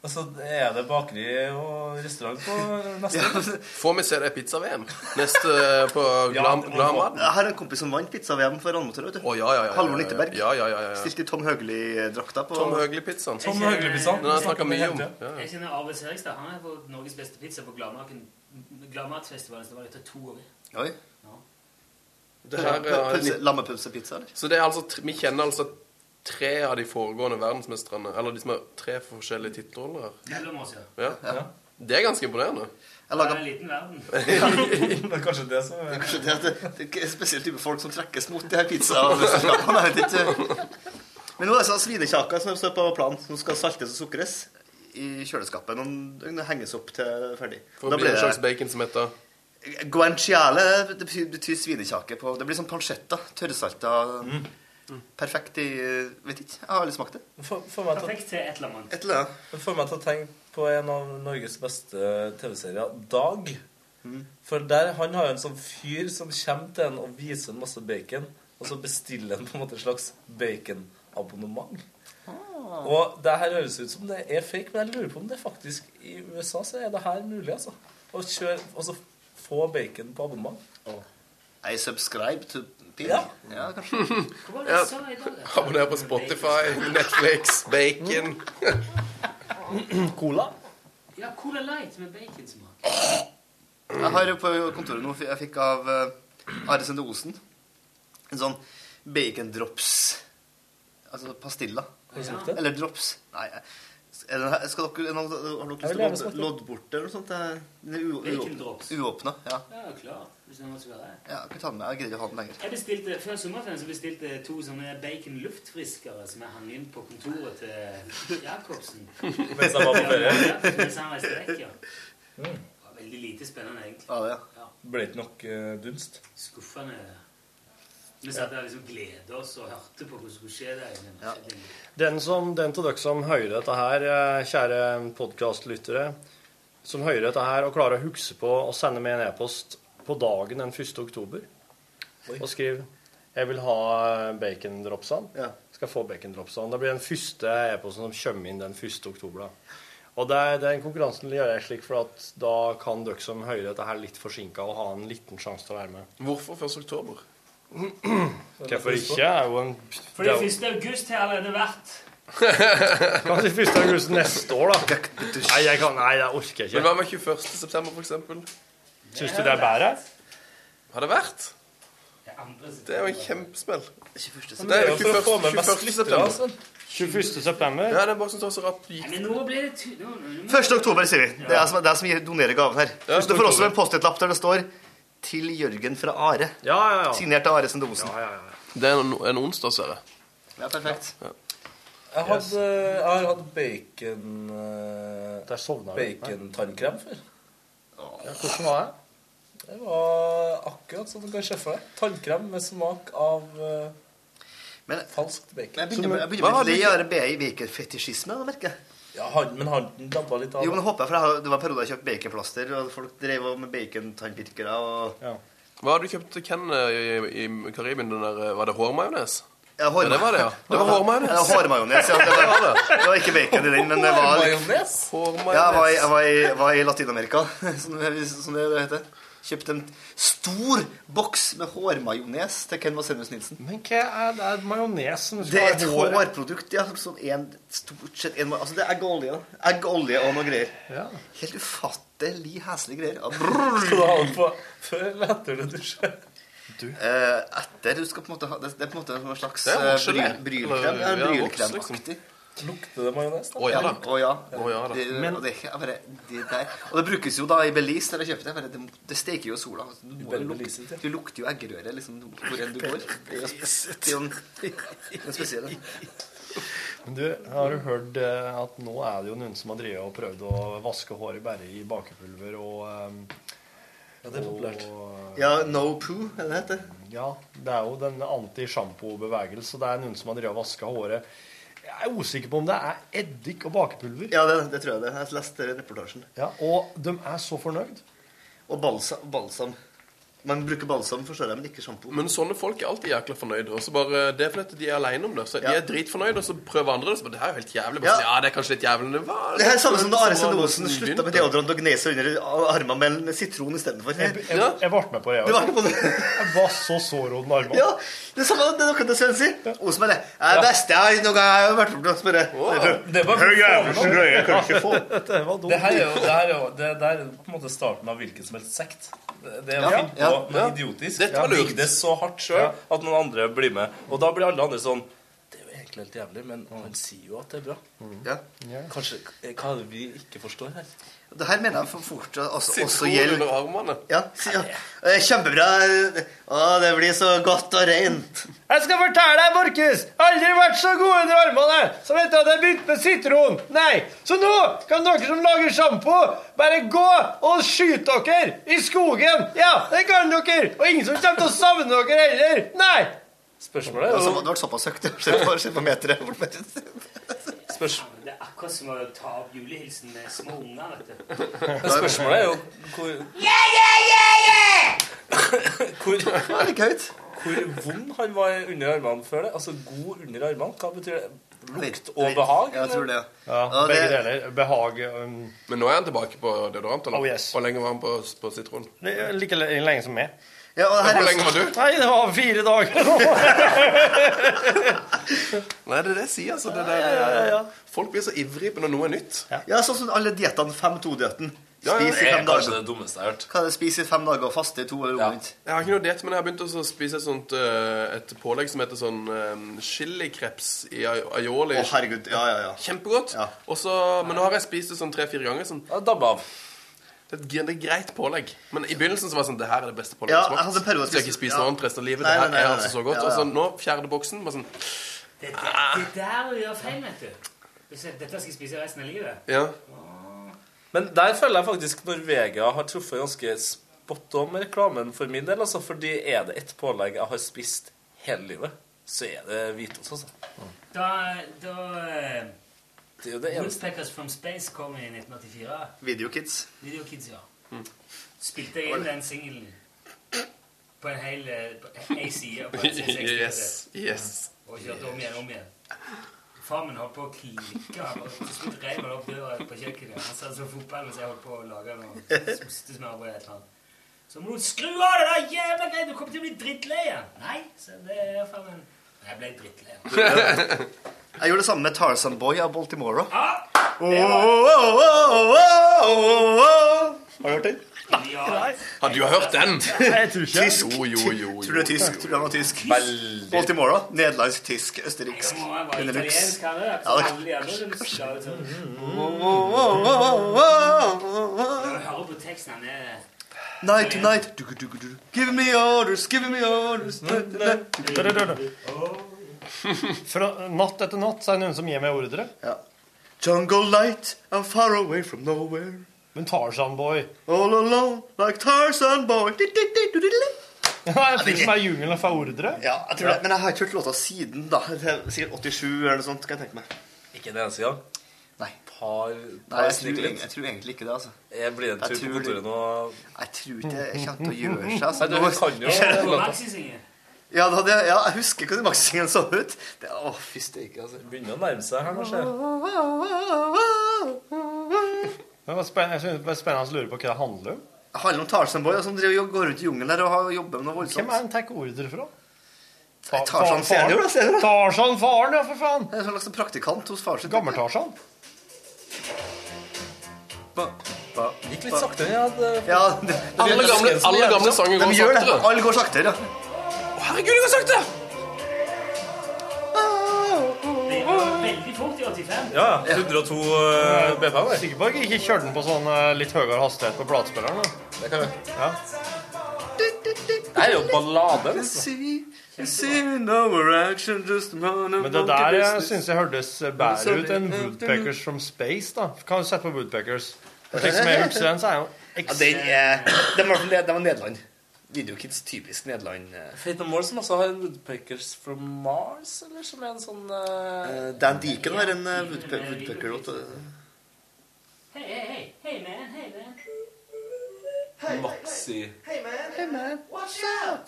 Og så er det bakeri og restaurant på neste uke.
Får vi se det i pizza-VM neste på Glam- Glamad?
Jeg har en kompis som vant pizza-VM for Randmotør. vet du.
ja, ja, ja,
Halvor
ja, ja.
Nitteberg.
Ja, ja, ja, ja.
Stilt i Tom Høgli-drakta på
Tom Høgli-pizzaen.
Tom Høgli-pizzaen.
Den har jeg snakket mye om. Ja, ja.
Jeg kjenner Arve Serigstad. Han er på Norges beste pizza på Gladmaken. Gladmatfestivalen som var etter to år.
Oi.
Det her er altså-
Lammepølsepizza, eller?
Så det er altså, tr- vi kjenner altså tre av de foregående verdensmestrene, eller de som har tre forskjellige tittelroller.
Mellom oss, ja.
Ja.
Ja.
Det er ganske imponerende.
Jeg laget-
Det er en liten verden.
det er kanskje det som
er kanskje det, at det, det er ikke en spesiell type folk som trekkes mot de her pizzaene. Jeg vet ikke. Men nå er det sånn svinekjaker som står på planen, som skal saltes og sukres i kjøleskapet. Noen døgn og henges opp til det er ferdig.
For det blir en slags bacon som heter
Guanciale det betyr, betyr svinekjake på Det blir sånn pancetta. Tørrsalta. Perfekt i Vet ikke. Jeg har aldri smakt det.
Får får meg til å-
Perfekt til et eller annet.
Et eller annet.
Det får meg til å tenke på en av Norges beste TV-serier, Dag.
Mm.
For der, han har jo en sånn fyr som kommer til en og viser en masse bacon, og så bestiller han på en måte et slags baconabonnement. Og det her høres ut som det er fake, men jeg lurer på om det faktisk i USA så er det her mulig, altså. Å kjøre, altså få bacon på abonnement.
I subscribe to pig.
Ja.
Ja, kanskje.
ja. Abonner på Spotify, Netflix, bacon
Cola?
Ja, Cola Light med baconsmak.
Jeg har jo på kontoret noe jeg fikk av eh, Are Sende Osen. En sånn bacondrops Altså pastilla.
Har du smakt det?
Eller drops. Nei. jeg- Er den her, skal dere, er noen- har dere
Jeg vil
lyst
gjerne
til å
smake.
lodde bort det eller noe sånt? Det- Den er u-
Bacondrops.
uåp- uåpna. Ja.
Ja, klart. Hvis det er noe som er det.
ja. Jeg kan ta den med. Jeg greier ikke å ha den lenger.
Jeg bestilte, Før sommerferien så bestilte jeg to sånne bacon luftfriskere som jeg hang inn på kontoret til Jacobsen.
Mens han var på ferie.
Ja, Mens han reiste vekk, ja. Det var veldig lite spennende, egentlig.
Ja, det,
Mm. Ble det ikke nok eh, dunst?
Skuffende. Vi satt der og liksom gledet oss og hørte på hva som skulle skje der inne.
Den som, den til dere som hører dette her, eh, kjære podkastlyttere, som hører dette her, og klarer å huske på å sende meg en e-post på dagen den 1. oktober og skriv 'Jeg vil ha eh, bacondropsene', skal få bacondropsene. Det blir den første e-posten som kommer inn den 1. oktober. da. Og det er, den konkurransen gjør jeg slik, for at da kan dere som hører dette her litt forsinka, og ha en liten sjanse til å være med.
Hvorfor 1. oktober?
Hvorfor ikke? Det er jo en
Fordi 1. august har allerede vært
Kanskje 1. august neste år, da. Nei, jeg kan, nei, det orker jeg
Men hva
ikke.
med 21. september, for eksempel?
Syns du det er bedre?
Har det vært? Det er jo en kjempesmell. Det er jo
For å få
21.
med mest
21.
lyttere,
september.
altså. 21. september?
Ja, det er bare sånn som tar så rapp gikk.
Men nå blir det ty... nå- nå-
1. oktober, sier vi. Det er jeg som, det er jeg som gir- donerer gaven her.
Ja,
du får også
oktober.
en Post-It-lapp der det står 'Til Jørgen fra Are'.
ja.
Signert av Aresen Dosen.
Det er en, en onsdag, ser jeg.
Ja, perfekt.
Jeg, hadde, jeg har hatt bacon eh,
jeg.
bacon-tannkrem før.
hvordan var det?
Det var akkurat sånn du kan se for deg. Tannkrem med smak av eh, falskt bacon.
Jeg begynner, jeg begynner med litt lei av baconfetisjisme, da, merker jeg.
Ja, han, men han dabba litt av.
Jo, men håper jeg, for jeg har- det var en periode jeg kjøpte baconplaster, og folk drev og med bacontannpirkere og
Hva har du kjøpt til Ken eh, i, i Karibien? Den der, eh, var det hårmajones?
Ja, hårma-
det var det, ja. Det var
Ja,
hårmajones.
hårmajones, ja. Det var, det var ikke bacon i den, men det var
Hårmajones?
Ja, jeg var, i- jeg var, i, jeg var i Latin-Amerika, som, det- som det det heter. Kjøpte en stor boks med hårmajones til Ken Vasenius Nilsen.
Men hva er det er majones som
Det
skal
er et hårprodukt, ja, som er en stort sett en, Altså, det er eggeolje, da. Eggeolje og noe greier. Helt ufattelig heslige greier. Ja, brrr.
Skal du ha den på før eller etter du dusjer?
Eh, etter du skal på en måte ha Det, det er på en måte en slags
Det er
eh,
voksen,
bryl-
det.
brylkrem. Ja,
Eller, ja, voksen,
brylkremaktig.
Lukter det majones? da?
Ja, Å ja. Det,
Men-
og det, jeg bare, det der. Og det brukes jo da i Belize, der jeg kjøpte det. Jeg bare, Det, det steker jo i sola. altså. Du, må jo lukte, du lukter jo eggerøre liksom, hvor enn du går. Det er jo- det er jo en, det er spesiell.
Men Du, har du hørt eh, at nå er det jo noen som har drevet og prøvd å vaske håret bare i bakepulver og ehm, Ja,
det er populært. Ja, no poo, er det det heter?
Ja, det er jo den anti-sjampo-bevegelsen. og Det er noen som har drevet og vaska håret. Jeg er usikker på om det er eddik og bakepulver.
Ja, det, det tror jeg det. er. Jeg leste reportasjen.
Ja, og de er så fornøyd.
Og balsam. balsam. Man bruker balsam, forstår jeg, men ikke sjampo.
Men sånne folk er alltid jækla fornøyde. Og så bare, det er fordi at de er alene om det. Så
Ja.
De er dritfornøyde, og så prøver andre det. Så bare, det her er jo helt jævlig. Bare,
Ja.
sånn, ja, det er kanskje litt jævlig. men Det, var,
Det er samme som da Are Sende Osen
Hvordan
slutta med
begynte?
deodorant og gnesa under armene med en sitron istedenfor.
Jeg, jeg ble med på det.
Du var med på
det. Jeg var så sår rundt armene.
Ja, det er samme det er noe til Sven sier. Osen bare «Ja, Det beste jeg har noe jeg har vært med på. Så bare
Det var
«Høy jævlig greie jeg kan ikke få.
Det var
Det her er jo, det her er jo det, det her er på en måte starten av hvilken som helst sekt. Det det er å
Ja,
finne på
ja,
noe
ja.
idiotisk.
Dette var
Digg
lurt.
det så hardt sjøl at noen andre blir med. Og da blir alle andre sånn Det er jo egentlig helt jævlig, men han sier jo at det er bra.
Mm.
Kanskje, eh, Hva er det vi ikke forstår her?
Det her mener jeg for fort altså,
Sitron
også gjelder
under armene.
Ja, si- ja. Eh, Kjempebra. Å, det blir så godt og rent.
Jeg skal fortelle deg, Markus! Aldri vært så gode under armene som etter at jeg begynte med sitron. Nei, Så nå kan dere som lager sjampo, bare gå og skyte dere i skogen. Ja, det kan dere! Og ingen som kommer til å savne dere heller. Nei!
Spørsmålet
Altså, det ble såpass høyt. Se på- se på meteret.
Det er akkurat som å ta opp julehilsen med små unger, vet du.
Men spørsmålet er jo hvor
Yeah, yeah, yeah, yeah!
Hvor, hvor vond han var under armene før det? Altså god under armene? Hva betyr det? Lukt og behag? eller?
Ja, begge det-
deler. Behag um...
Men nå er han tilbake på deodorant, eller?
Oh, yes.
Hvor lenge var han på, på sitron?
Like lenge som meg.
Ja,
og her er Hvor lenge var du?
Nei, det var fire dager.
Nei, det er det jeg sier, altså. Det der, Folk blir så ivrige på når noe er nytt.
Ja, sånn som alle diettene 5-2-dietten.
Ja, ja.
Spis
Det er
i fem
kanskje det
dager.
dummeste jeg har hørt.
Hva er det spise i fem dager og faste i to eller omvendt?
Jeg har ikke noe diett, men jeg har begynt å spise et sånt eh, Et pålegg som heter sånn eh, chilikreps i ai- aioli.
Å, herregud, ja, ja, ja
Kjempegodt. Og så- men nå har jeg spist det sånn tre-fire ganger. Sånn,
Dabba av.
Det er et gre- det er greit pålegg. Men i begynnelsen så var det sånn Det her er det beste pålegget
Ja,
som
jeg hadde en periode
Så jeg ikke
spist-
spiser noe
ja.
annet resten av livet.
Nei,
det her
nei, nei,
er
nei,
altså
nei.
så godt.
Ja,
Og
ja.
så nå, fjerde boksen bare sånn
Det, det, det der du gjør feil, vet du. Hvis jeg- Dette skal jeg spise resten av livet.
Ja.
Men der føler jeg faktisk Norvegia har truffet ganske spot on med reklamen for min del. Altså, fordi er det ett pålegg jeg har spist hele livet, så er det hvitost. Altså.
Da, da eh,
Det er jo det eneste.
Woodpeckers from Space kom i 1984.
Videokids.
Video Kids, ja.
Mm.
Spilte jeg
Var
inn
det-
den singelen på en hel eh, på en side på en C60
Yes. Yes.
og kjørte om igjen om igjen. Far min holdt på å klikke. han var- Til slutt reiv han opp døra på kjøkkenet. Han satt som fotball mens jeg holdt på å lage noe ostesmørbrød eller et eller annet. Så må du skru av det der jævla greia! Du kommer til å bli drittlei igjen! Nei, så det er faen en Jeg ble drittlei.
Jeg gjorde det samme med Tarzan Boy av Baltimore.
Ah,
Åh, åh, åh, åh, åh, åh. Har du hørt den?
Nei.
Ja, du har hørt den?
Jeg tror ikke. Tysk.
Jo, jo, jo, jo.
Tror du det er tysk? Tror du han var tysk?
Veldig.
Baltimore, nederlandsk, tysk, østerriksk.
Må jeg være
Benelux.
italiensk her, da?
Ja, det-
Alle de andre som skal ut og- Jeg hører på teksten han er
Night to night. Dugu, dugu, dugu. Give me orders, give me orders. Da, da, da.
Da, da, da. Fra natt etter natt så er det noen som gir meg ordre.
Jungle light, I'm far away from nowhere.
Men Tarzan Boy
All alone, like Tarzan Boy. Du, du, du, du, du, du.
Det er en fyr som er i jungelen og får ordre.
Ja, jeg tror det, Men jeg har ikke hørt låta siden, da. Det er Sikkert 87 eller noe sånt. kan jeg tenke meg
Ikke en eneste gang.
Nei.
Par,
Nei,
par
jeg tror,
sniklitt.
eng- jeg tror egentlig ikke det, altså.
Jeg blir en tur
Jeg
på
tror-
kontoret nå.
Jeg tror ikke det kommer til å gjøre seg. Altså.
Nei, du
Nå-
kan jo
Skjer det?
Maxi-singer.
Ja, det hadde, jeg- ja, jeg husker hvordan maxingen så ut. Det, å, fy steike, altså.
Begynner å nærme seg her, kanskje.
Men det er spenn- jeg synes det er spennende å lure på hva det handler om.
Det handler om Tarzan Boy som driver og går rundt i jungelen der og har- jobber med noe
Hvem er
voldsomt.
den tar ordre fra?
Nei, Tarzan senior, da, ser du det?
Tarzan faren, ja, for faen!
Det er en sånn slags praktikant hos far sin.
Gammel-Tarzan.
Gikk
litt saktere, ja. Det...
ja det, det
Alle
det-
gamle-
det-
alle gamle sanger går
De gjør det.
saktere.
Alle går saktere, ja.
Herregud, det går sakte!
Det går veldig fort i 85.
Ja,
102
BPM. Sikker på at jeg ikke kjørte den på sånn eh, litt høyere hastighet på platespilleren. da.
Det kan jeg.
Ja.
Det er jo ballade, liksom.
Men det der jeg synes jeg hørtes eh, bedre ut enn Woodpeckers from Space. da Kan du sette på Woodpeckers? Og Slik som jeg husker den, så er jo
Ja, den er, den, var, den var Nederland. Videokids typisk Nederland. eh.
Fate No More, som også har en Woodpeckers from Mars, eller som er en sånn eh,
Eh, Dan Deacon har en eh, woodpe- woodpecker-låt. eh.
Hei, hei, hei. Hei, man. Hei, man.
Maxi.
Hey man. Hey man. Watch out.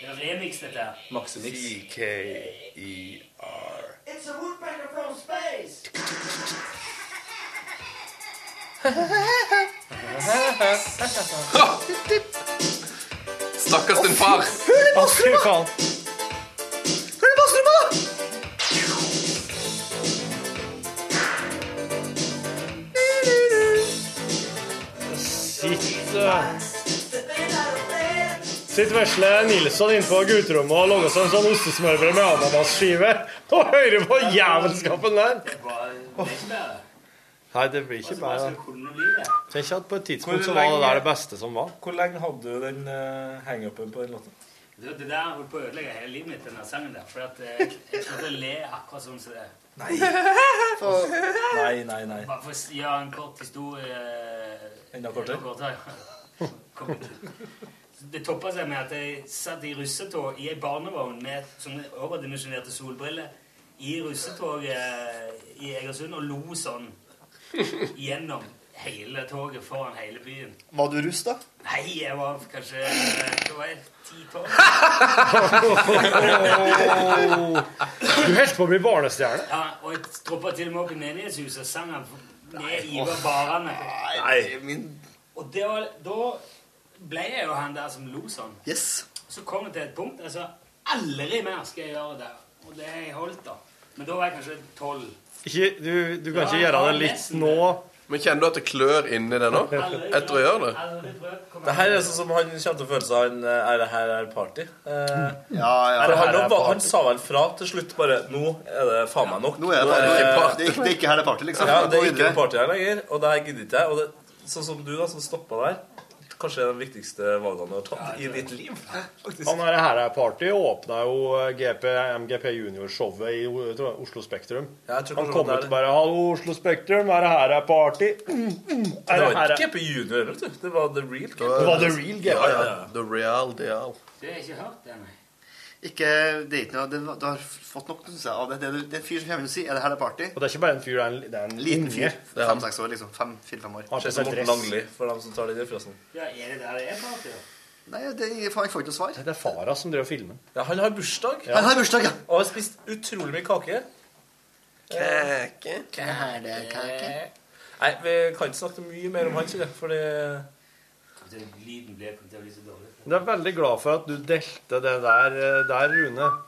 Det er remix, dette her.
E
Maximix.
C-K-E-R.
It's a woodpecker from space.
Stakkars din far.
Å, fy faen.
Hør på strømma, da!
Sitter Sitter vesle Nilsson inne på gutterommet og lager seg en sånn ostesmørbrød med ananasskive og hører på jævelskapen der.
Oh.
Nei, det blir ikke bedre.
Altså,
Tenk at på et tidspunkt så var det der det beste som var.
Hvor lenge hadde du den eh, hang-upen på den låta?
Du, det der holdt på å ødelegge hele livet mitt, denne sangen der. For at eh, jeg klarte å le akkurat sånn som det.
Nei. Nei, nei, nei.
Bare for å s- gjøre en kort historie
Enda
ja.
kortere?
Kom igjen. Det toppa seg med at jeg satt i russetog i ei barnevogn med sånne overdimensjonerte solbriller i russetoget i Egersund og lo sånn gjennom hele toget foran hele byen.
Var du russ, da?
Nei, jeg var kanskje Det var jeg ti-tolv.
Du holdt på å bli barnestjerne.
Ja, og jeg droppa til og med opp i menighetshuset og sang han ned i barene.
Nei, min
Og det var, da ble jeg jo han der som lo sånn.
Yes.
Så kom det til et punkt altså, jeg sa aldri mer skal jeg gjøre det. Og det har jeg holdt, da. Men da var jeg kanskje tolv.
Ikke, du, du kan ikke gjøre det litt nå.
Men kjenner du at det klør inni det nå? Etter å gjøre det?
Aldri prøvd. kom
Det her er sånn som han kommer til å føle seg han, eh, Er det her er party? Eh,
ja,
for
det her
han,
er
var-
party.
han sa vel fra til slutt bare Nå er det faen meg nok. Eh,
Nå er det party. Det er ikke party. Det er ikke- det er ikke her det er party, liksom.
Ja,
Gå
det er ikke
videre.
party her lenger, og det her gidder ikke jeg. Og det, sånn som du, da, som stoppa der. Kanskje det er de viktigste valgene du har tatt i ditt liv.
Han her her er party åpna jo eh, GP, MGP Junior-showet i O- tror jeg, Oslo Spektrum.
Jeg tror
Han
kanskje
kom
det er
ut og bare 'Hallo, Oslo Spektrum, er det her er party?' Mm, mm, er
det
det
var
her
ikke
er...
GP Junior, vet du. Det var The Real GP.
Det var The Real GP.
Ja, ja. The real deal.
Det har jeg ikke hørt ennå.
ikke, det er ikke noe, det, Du har fått nok, synes jeg. av Det, det, er- det er en fyr som kommer inn og sier 'Er det her det er party?'
Og det er ikke bare en fyr, det er en, det er en
Liten
unge.
fyr.
Det er han.
Fem-seks år, liksom. Fem, Fire-fem år.
Har på seg dress.
for dem som tar den referansen.
Ja, er det der det er party, da?
Nei, det, jeg får ikke noe svar.
Det er fara som driver og filmer.
Ja, han har bursdag.
Han har bursdag, ja.
Og har spist utrolig mye kake. Kake
Kake.
Eh, Nei, vi kan ikke snakke mye mer om han, ikke det, fordi
Lyden ble kom til å bli så dårlig.
Men jeg er veldig glad for at du delte det der, eh, der Rune.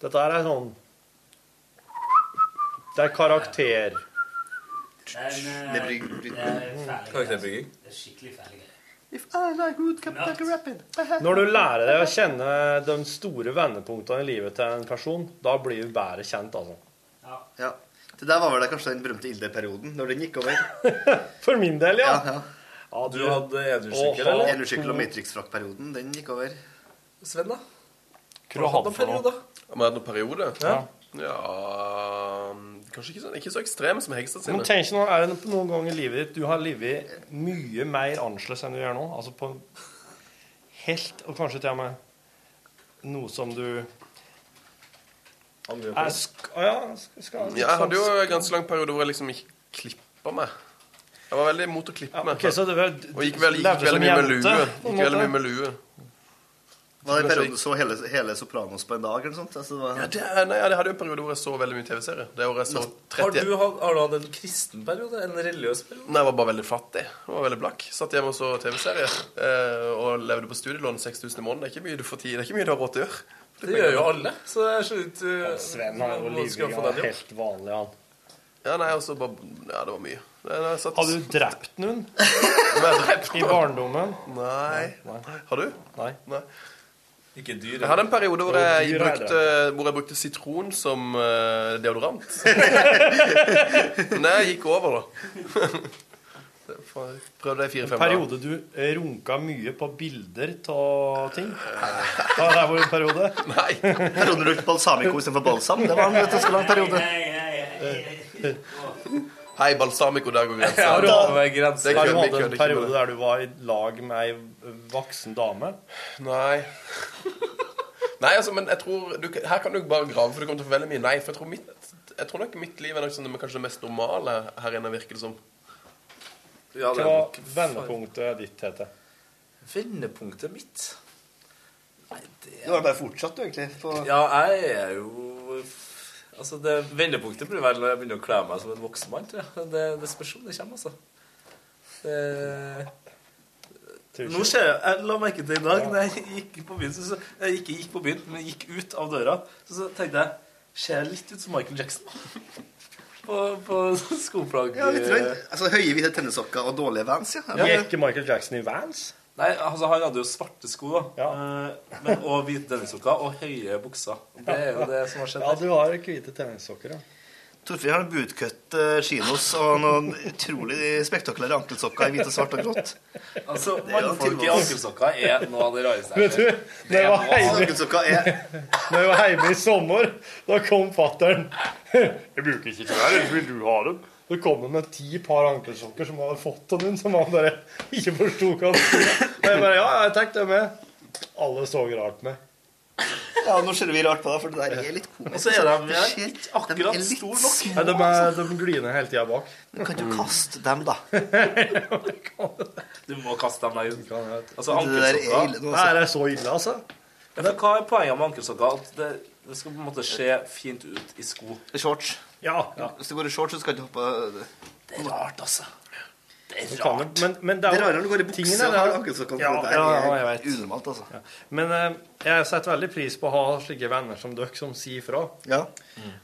Dette her er sånn Det er karakter.
Men, eh,
Det blir-
det er fæle
Karakterbygging.
greier. Det er skikkelig fæle greier.
If I like wood, come take a rapid.
Når du lærer deg å kjenne de store vendepunktene i livet til en person, da blir du bedre kjent, altså.
Ja. Det der var vel det kanskje den berømte Ilde-perioden, når den gikk over.
For min del, ja.
ja,
du hadde
Åh,
enersykkel, eller?
Enersykkel og Matrix-frakkperioden, den gikk over.
Sven, da?
Hva har du hatt noen
periode?
Om jeg hadde noen periode?
Ja.
Ja, Kanskje ikke så, ikke så ekstrem som Hegstad sine.
Men tenk nå, er det noen gang i livet ditt du har livet mye mer annerledes enn du gjør nå? Altså på en helt, og kanskje til og med noe som du
Angrer
er sk ja, sk- skal,
Ja, jeg hadde jo en ganske lang periode hvor jeg liksom ikke klippa meg. Jeg var veldig imot å klippe meg.
ok, så det var-
og gikk veldig,
levde
gikk veldig
som
mye med
jente,
lue.
på en
Gikk veldig
måte.
mye med lue.
Var det en periode du så hele, hele Sopranos på en dag? eller noe sånt? Altså, det var...
Ja, det, nei, jeg hadde jo en periode hvor jeg så veldig mye TV-serier. Det året jeg så
Har
30
du, hatt- har du hatt en kristen periode? En religiøs periode?
Nei, jeg var bare veldig fattig. Jeg var veldig blakk. Satt hjemme og så TV-serier. Eh, og levde på studielån 6000 i måneden. Det er ikke mye du får tid Det er ikke mye du har råd til å gjøre.
Det gjør jo alle. Så det er slutt uh,
Sven
Han er jo livgrann, helt vanlig, han.
Ja, nei, og så bare Ja, det var mye.
Har du drept noen?
I
barndommen?
Nei. Har du?
Nei.
Ikke dyr.
Jeg hadde en periode hvor
Jo,
jeg
dyr er
brukte, hvor jeg brukte sitron som eh, deodorant. Men det gikk over, da. Det var- Prøvde det i
En
fire-fem
periode du eh, runka mye på bilder av ting? Har det vært en periode?
Nei.
Perioden rundt balsamico istedenfor balsam. Det var en ganske lang periode.
Hei, balsamico, der går grensa.
Har du
Det er
hatt-
kødd,
har
vi
du hatt
kødder
en
ikke
periode
med det.
der du var i lag med ei voksen dame?
Nei. Nei, altså, men jeg tror du, kan- Her kan du bare grave, for du kommer til å få veldig mye nei. For jeg tror, mitt, jeg tror nok mitt liv er nok sånn, det- kanskje det mest normale her inne, virker det som.
Ja, det er
Hva
nok-
vendepunktet ditt heter?
Vendepunktet mitt?
Du har bare fortsatt, du, egentlig. På...
Ja, jeg er jo Altså, det Vendepunktet blir vel når jeg begynner å kle meg som en voksen mann. tror jeg. Det, det spørs om det kommer, altså. Det... Nå ser jeg, jeg la merke til i dag når jeg gikk på byen, så, så, jeg ikke gikk på byen, men gikk ut av døra, så, så tenkte jeg Ser jeg litt ut som Michael Jackson? På, på eh. skoplagg
Ja, litt røynt. Altså, Høye, hvite tennissokker og dårlige vans, ja.
Ja.
Gikk Michael Jackson i Vans?
Nei, altså han hadde jo svarte sko da Eh, men, Og hvite dennissokker Og høye bukser Det er jo det som har skjedd
Ja, du har hvite tennissokker, ja.
Torfinn har bootcut eh, chinos og noen utrolig spektakulære ankelsokker i hvite, svart og grått.
Altså,
Det er jo
mannfolk i
folk-
ankelsokker er noe av det rareste
Vet du, når jeg var
hjemme,
når jeg var hjemme i sommer, da kom fattern. Jeg bruker ikke klær, ellers vil du ha dem. Da kom han med ti par ankelsokker som han hadde fått av noen, som han bare ikke forsto hva han skulle. Og jeg bare Ja, jeg tar dem med. Alle så rart med.
Ja, nå ser vi rart på deg, for det der er litt komisk.
Og så er de
Det
her
skjer-
ikke akkurat
litt
stor nok.
små,
Nei, de, er,
altså.
de gliner hele tida bak.
Men Kan du kaste dem, da?
Du må kaste dem der ut Altså,
Det der er ille nå, altså. Nei,
det er så ille, altså
ja, for Hva er poenget med ankelsokker? At det, det skal på en måte se fint ut i sko
Shorts.
Ja,
Hvis det går i shorts, så skal du hoppe Det
er rart, altså. Det
Du kan jo- Men, men det er
rarere når du går i
tingen
bukse
er
og
det-
har ankelsokker. på.
Ja,
det
ja, ja,
er
jeg vet.
unormalt, altså.
Men eh, jeg setter veldig pris på å ha slike venner som dere som sier fra.
Ja.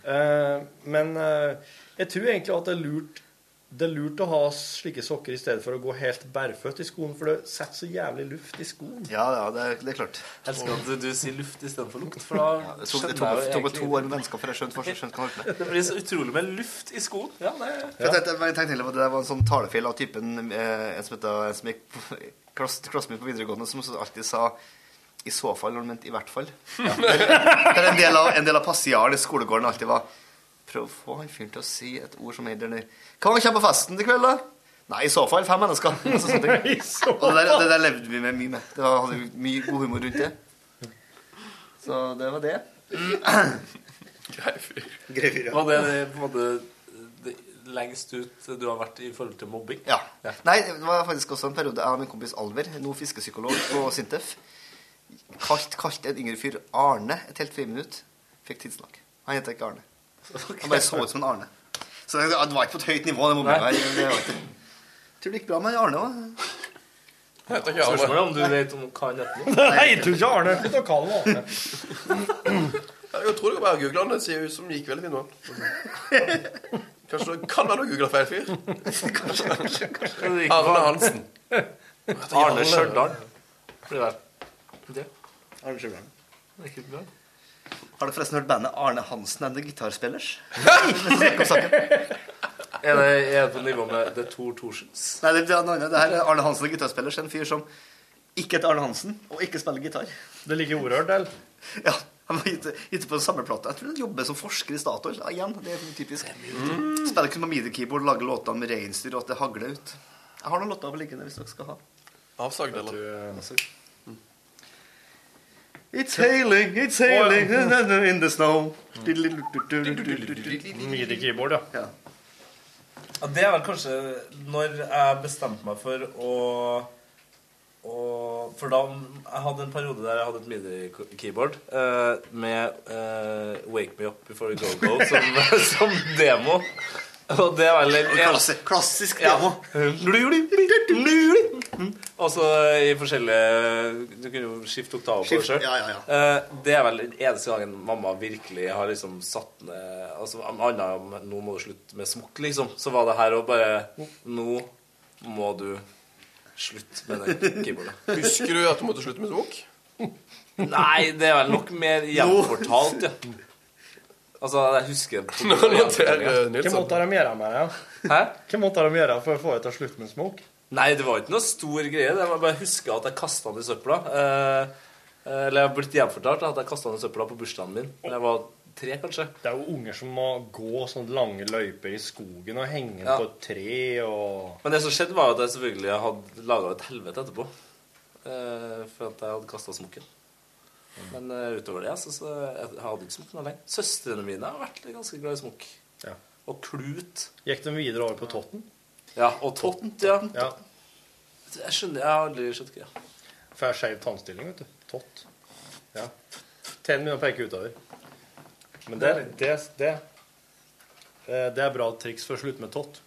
Eh, men eh, jeg tror egentlig at det er lurt det er lurt å ha slike sokker i stedet for å gå helt bærføtt i skoen, for det setter så jævlig luft i skoen.
Ja, ja, det er, det er klart.
Jeg elsker at du, du sier luft istedenfor lukt. For da
Ja, det tok- det tok-
skjønner jeg jo
det tok meg
egentlig-
to år med vennskap før jeg skjønte forskjell- skjønte hva det var.
Det blir så utrolig med luft i skoen. Ja, det
For Jeg tenkte, jeg tenkte heller på at det der var en sånn talefeil av typen eh, en som, het, en som gikk på klass- klassen min på videregående, som så alltid sa i så fall, når han mente i hvert fall. Der, der en del av, en del av passiaren i skolegården alltid var Prøv å få han fyren til å si et ord som heter det. Hva om han kommer på festen i kveld, da? Nei, i så fall fem mennesker. Altså, sånne ting.
Og
det der, det der levde vi med mye med. Det var, hadde vi mye god humor rundt det. Så det var det.
Grei fyr.
Grei fyr, ja.
Var det det, på en måte det lengst ut du har vært i forhold til mobbing?
Ja. Nei, det var faktisk også en periode jeg og min kompis Alver, nå fiskepsykolog på Sintef, kalt, kalt en yngre fyr Arne et helt friminutt. Fikk tidsnok. Han heter ikke Arne. Han bare så ut som en Arne. Så det det var ikke på et høyt nivå, det mobbinga
Nei.
her. det var ikke- Tror det gikk bra med Arne òg.
Heter
ikke Arne.
Spørsmålet er om du vet om hva han heter nå.
Nei, jeg tror ikke
Arne. Slutt å kalle ham
Jeg tror det var Google-en. Det ser jo ut som det gikk veldig fint nå. Kanskje du kan være googla feil fyr? Arne Hansen.
Arne Stjørdal. Blir det det?
Arne Stjørdal.
Det er ikke bra.
Har du forresten hørt bandet Arne Hansen and the Guitarspillers? Snakk om saken.
Er det, er det på nivå med The Tor Thorsens?
Nei, det, det, er noe annet. det her er Arne Hansen og gitarspiller. En fyr som ikke heter Arne Hansen, og ikke spiller gitar.
Det ligger ordhørt, eller?
Ja. Han var gitt, gitt på den samme plata. Jeg tror han jobber som forsker i Statoil. Ja, igjen, det er typisk.
Mm.
Spiller kun på midi-keyboard, lager låtene med reinsdyr, og at det hagler ut. Jeg har noen låter over liggende hvis dere skal ha.
Avsagd, eller?
eh,
Mm.
It's hailing, it's hailing in the snow.
Midi-keyboard,
ja.
Ja, det er vel kanskje når jeg bestemte meg for å, å For da jeg hadde en periode der jeg hadde et midi-keyboard eh, med eh, 'Wake Me Up Before You Go Go' som, som demo. Og det er vel
Klassisk, klassisk demo.
Og så Altså, i forskjellige Du kunne jo skifte oktaver på det
Skift,
sjøl.
ja, ja,
Det er vel den eneste gangen mamma virkelig har liksom satt ned Altså Annet om nå må du slutte med smokk, liksom. Så var det her og bare Nå må du slutte med det keyboardet.
Husker du at du måtte slutte med smokk?
Nei, det er vel nok mer gjenfortalt, ja. Altså, jeg husker på-
Hva måtte de gjøre med det? ja? Hva måtte de gjøre for å få deg til å slutte med smokk?
Nei, det var ikke noe stor greie. Det var bare å huske at jeg kasta den i søpla. Eh, eh, eller jeg har blitt gjenfortalt at jeg kasta den i søpla på bursdagen min. Da jeg var tre, kanskje.
Det er jo unger som må gå sånne lange løyper i skogen og henge
Ja.
på et tre og
Men det som skjedde, var jo at jeg selvfølgelig hadde laga et helvete etterpå. Eh, for at jeg hadde kasta smokken. Men eh, utover det altså, så jeg, jeg hadde ikke smokk noe lenge. Søstrene mine har vært ganske glad i smokk. Og klut.
Gikk de videre over på Totten?
Ja, og tott, ja.
ja.
Jeg skjønner, jeg har aldri skjønt greia.
For jeg har skeiv tannstilling, vet du. Tott. Ja. Tennene mine peker utover. Men det, det, det, eh, det er bra triks for å slutte med tott.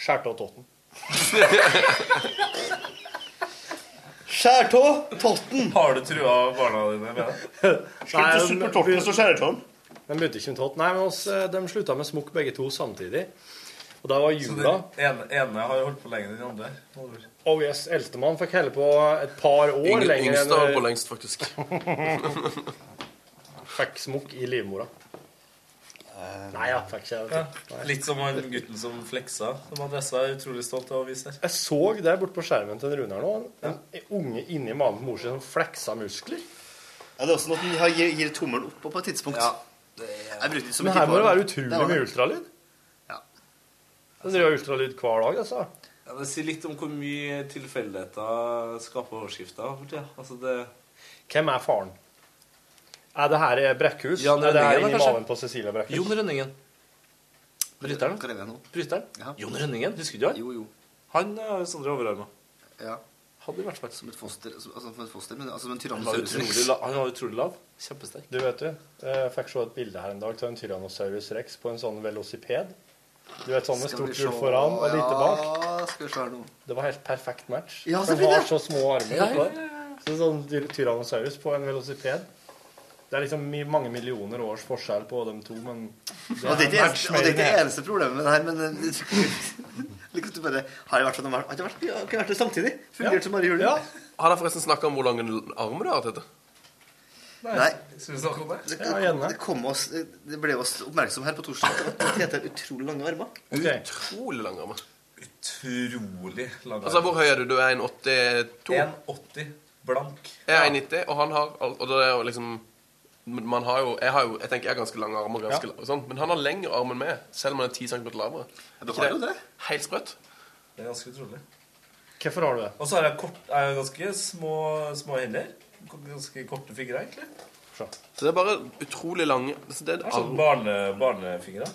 Skjær av totten.
Skjær tå, totten.
Har du trua barna dine med
det?
Slutt med totten, så skjærer tåen.
De begynte ikke med tott. Nei, men oss, eh, de slutta med smokk begge to samtidig. Og da var
Så
jula.
den ene, ene har jo holdt på lenger enn den andre. Oliver.
Oh yes, Eldstemann fikk helle på et par år
Yngre-
lenger. enn-
yngste holdt på lengst, faktisk.
fikk smokk i livmora. Nei, jeg fikk ikke det.
Ja. Litt som han gutten som fleksa. Som adressa er utrolig stolt av å vise her.
Jeg så der borte på skjermen til Runar nå. En en unge inni magen på mor si som fleksa muskler.
Ja, det er også noe at den har- gir, gir tommelen opp på på et tidspunkt. Jeg brukte det som
Men
et
her må det
tidspunkt.
være utrolig
var det.
mye ultralyd.
Ja.
Jeg driver ultralyd hver dag, altså.
Ja, det sier litt om hvor mye tilfeldigheter skaper overskrifter for tida. Altså det
Hvem er faren? Er det her i Brekkhus?
Jan
er det her
Rønningen, da,
inni
kanskje?
magen på Cecilia Brekkhus?
Jon Rønningen. Bryteren. Bryteren. Jon Rønningen, husker du han?
Jo, jo.
Han har jo sånne overarmer.
Ja.
Hadde i hvert fall
som et foster, som- altså som et foster, men altså som en
Han var
tyrannosaurus
utrolig, la han var utrolig lav. Kjempesterk.
Du vet du, jeg fikk se et bilde her en dag av en Tyrannosaurus rex på en sånn velociped. Du vet sånn med
Skal vi
stort
se.
hjul foran og lite bak.
Ja, skal vi se her nå.
Det var helt perfekt match.
Ja,
Den
selvfølgelig.
har så små armer.
Ja, ja, ja,
Så sånn ty- Tyrannosaurus på en velociped. Det er liksom mi- mange millioner års forskjell på dem to, men
Og det er ikke eneste, og det er ikke det
eneste.
eneste problemet med det her, men eh, like at du bare har det vært sånn, har det vært, har ikke vært det samtidig? Fungert som bare julen?
Har dere forresten snakka om hvor lang en arm du har hatt? Dette?
Nei.
Skal vi snakke om det?
Det, det, det, kom oss, det ble oss oppmerksom her på torsdag at Tete har utrolig lange armer.
Utrolig lang arm.
Utrolig lang arm.
Altså, hvor høy er du? Du er 1,82?
1,80 blank.
Jeg er 1,90, og han har al- Og det er jo liksom men man har jo, jeg, har jo, jeg tenker jeg har ganske lange armer, ganske, la- og sånn, men han har lengre arm enn meg. Selv om han er 10 cm lavere.
du
Ikke
har jo det.
Helt sprøtt.
Det er ganske utrolig.
Hvorfor har du det?
Og så har jeg, kort, jeg har ganske små, små hender. ganske korte fingre, egentlig.
Så det er bare utrolig lange altså det er
Det er sånn
all-
barne, barnefingre.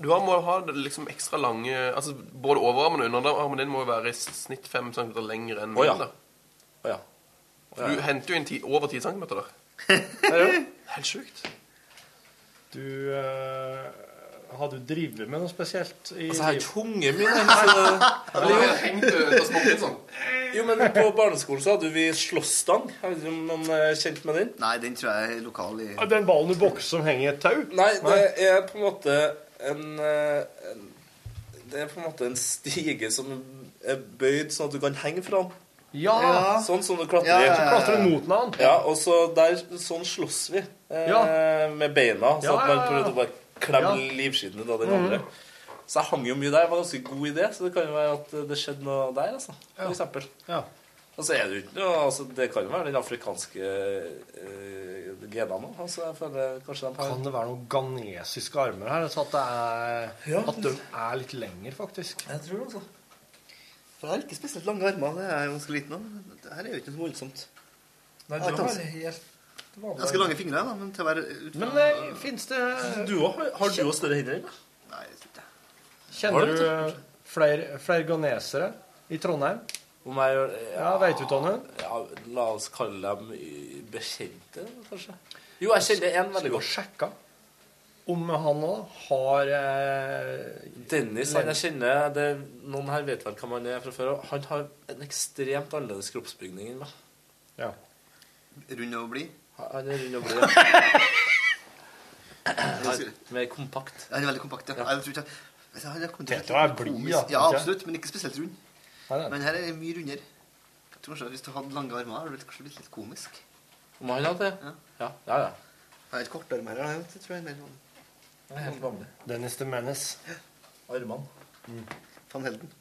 Du har- må ha det liksom ekstra lange altså Både overarmen og underarmen din må jo være i snitt 5 cm lengre enn min.
Å ja.
da.
Å ja. Å ja.
Du henter jo inn ti, over 10 cm der. Helt sjukt.
Du eh, Har du drevet med noe spesielt i
Altså, her
livet?
tungen min altså,
Eller-
sånn. Jo, men på barneskolen så hadde vi slåssstang. Jeg vet ikke om noen er kjent med den?
Nei, den tror jeg er lokal i
Ah, Den ballen du bokser som henger i et tau?
Nei, det er på en måte en, eh, en Det er på en måte en stige som er bøyd sånn at du kan henge fra den.
Ja.
Sånn som du klatrer.
Ja, ja, ja, ja. Så klatrer du mot den.
Ja, og så der, sånn slåss vi eh, med beina. Så
Ja,
at
ja,
man
ja.
prøvde å bare klemme
Ja.
livskiten ut av den
Mhm.
andre. Så jeg hang jo mye der. Jeg var ganske god i det, så det kan jo være at det skjedde noe der. altså, for eksempel.
Ja.
Og så er det jo ikke noe altså, Det kan jo være den afrikanske eh, genene. Altså, jeg føler kanskje de har
Kan det være noen ghanesiske armer her? Så at, det er, at de er litt lengre, faktisk.
Jeg tror det, altså.
For jeg har ikke spesielt lange armer. Det er jeg ganske liten av. Det her er jo ikke noe så voldsomt.
Nei,
Jeg har
du har
ikke hans-
helt vanlig
Ganske lange fingre, da, men til å være ut
Men eh, fins det
Du òg? Har du òg større hender? eller?
Kjenner
Har
du
du det?
eh, flere, flere ghanesere i Trondheim?
Om jeg gjør
Ja, vet du, Tonje?
Ja, la oss kalle dem eh, bekjente, kanskje. Jo, jeg kjenner en veldig godt.
Sjekka om han òg har eh,
Dennis, han jeg kjenner det, Noen her vet vel hvem han er fra før. og Han har en ekstremt annerledes kroppsbygning enn meg.
Ja.
Rund og blid.
Han er rund og blid. Mer kompakt.
Han er veldig kompakt, ja. Jeg tror ikke jeg- han er kompakt.
Petra er blid,
Komisk.
ja,
Ja,
ikke?
absolutt, men ikke spesielt rund.
Nei, nei.
Men her er det mye rundere. Jeg tror kanskje Hvis du hadde lange armer, hadde det kanskje blitt litt komisk.
Om han hadde det? Ja. ja, ja.
Jeg har ikke korte armer. Jeg vet, jeg tror jeg er mer sånn
Det er helt vanlig.
Dennis the Menace.
Armene.
Van Helden.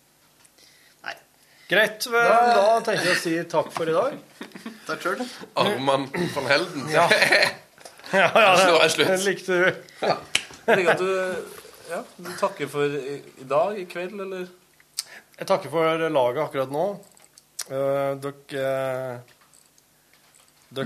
Greit. Vel, da tenker jeg å si takk for i dag.
Takk sjøl.
Arman van Helden.
Ja. Ja, ja,
Nå er det
den
slutt.
likte du.
Ja. Jeg tenker at du, ja, du takker for i, i dag, i kveld, eller?
Jeg takker for laget akkurat nå. Eh, dere eh, dere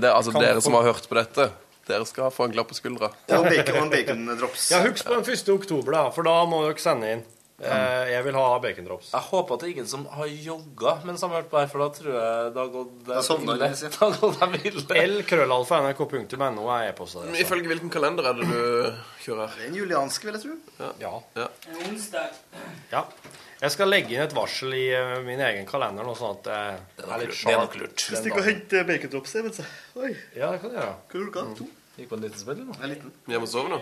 Det er altså
kan
dere
få-
som har hørt på dette. Dere skal få en klapp på skuldra.
Ja, og bacon- og en Ja, Husk på den 1. oktober, da, for da må dere sende inn. Eh, jeg vil ha bacondrops.
Jeg håper at det er ingen som har jogga mens de har hørt på her, for da tror jeg det har gått
Da sovner de, sier jeg.
Da går de ille.
L-krøllalfa.nrk.no er e-postadressen.
Men Ifølge hvilken kalender er det du kjører?
Den julianske, vil jeg tro.
Ja.
Eh, Onsdag.
ja. Jeg skal legge inn et varsel i eh, min egen kalender nå, sånn at jeg er litt
Det er nok
sharp
lurt.
den
Hvis du ikke
dagen.
henter bacondrops i mens Oi.
Ja, det kan du gjøre.
Hva gjorde du? To?
Mm. Gikk på en liten spill,
Jeg er liten.
Jeg må sove nå.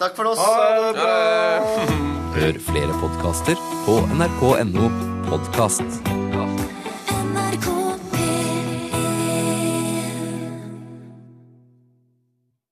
Takk for oss.
Ha det
bra.
Hør flere podkaster på nrk.no podkast.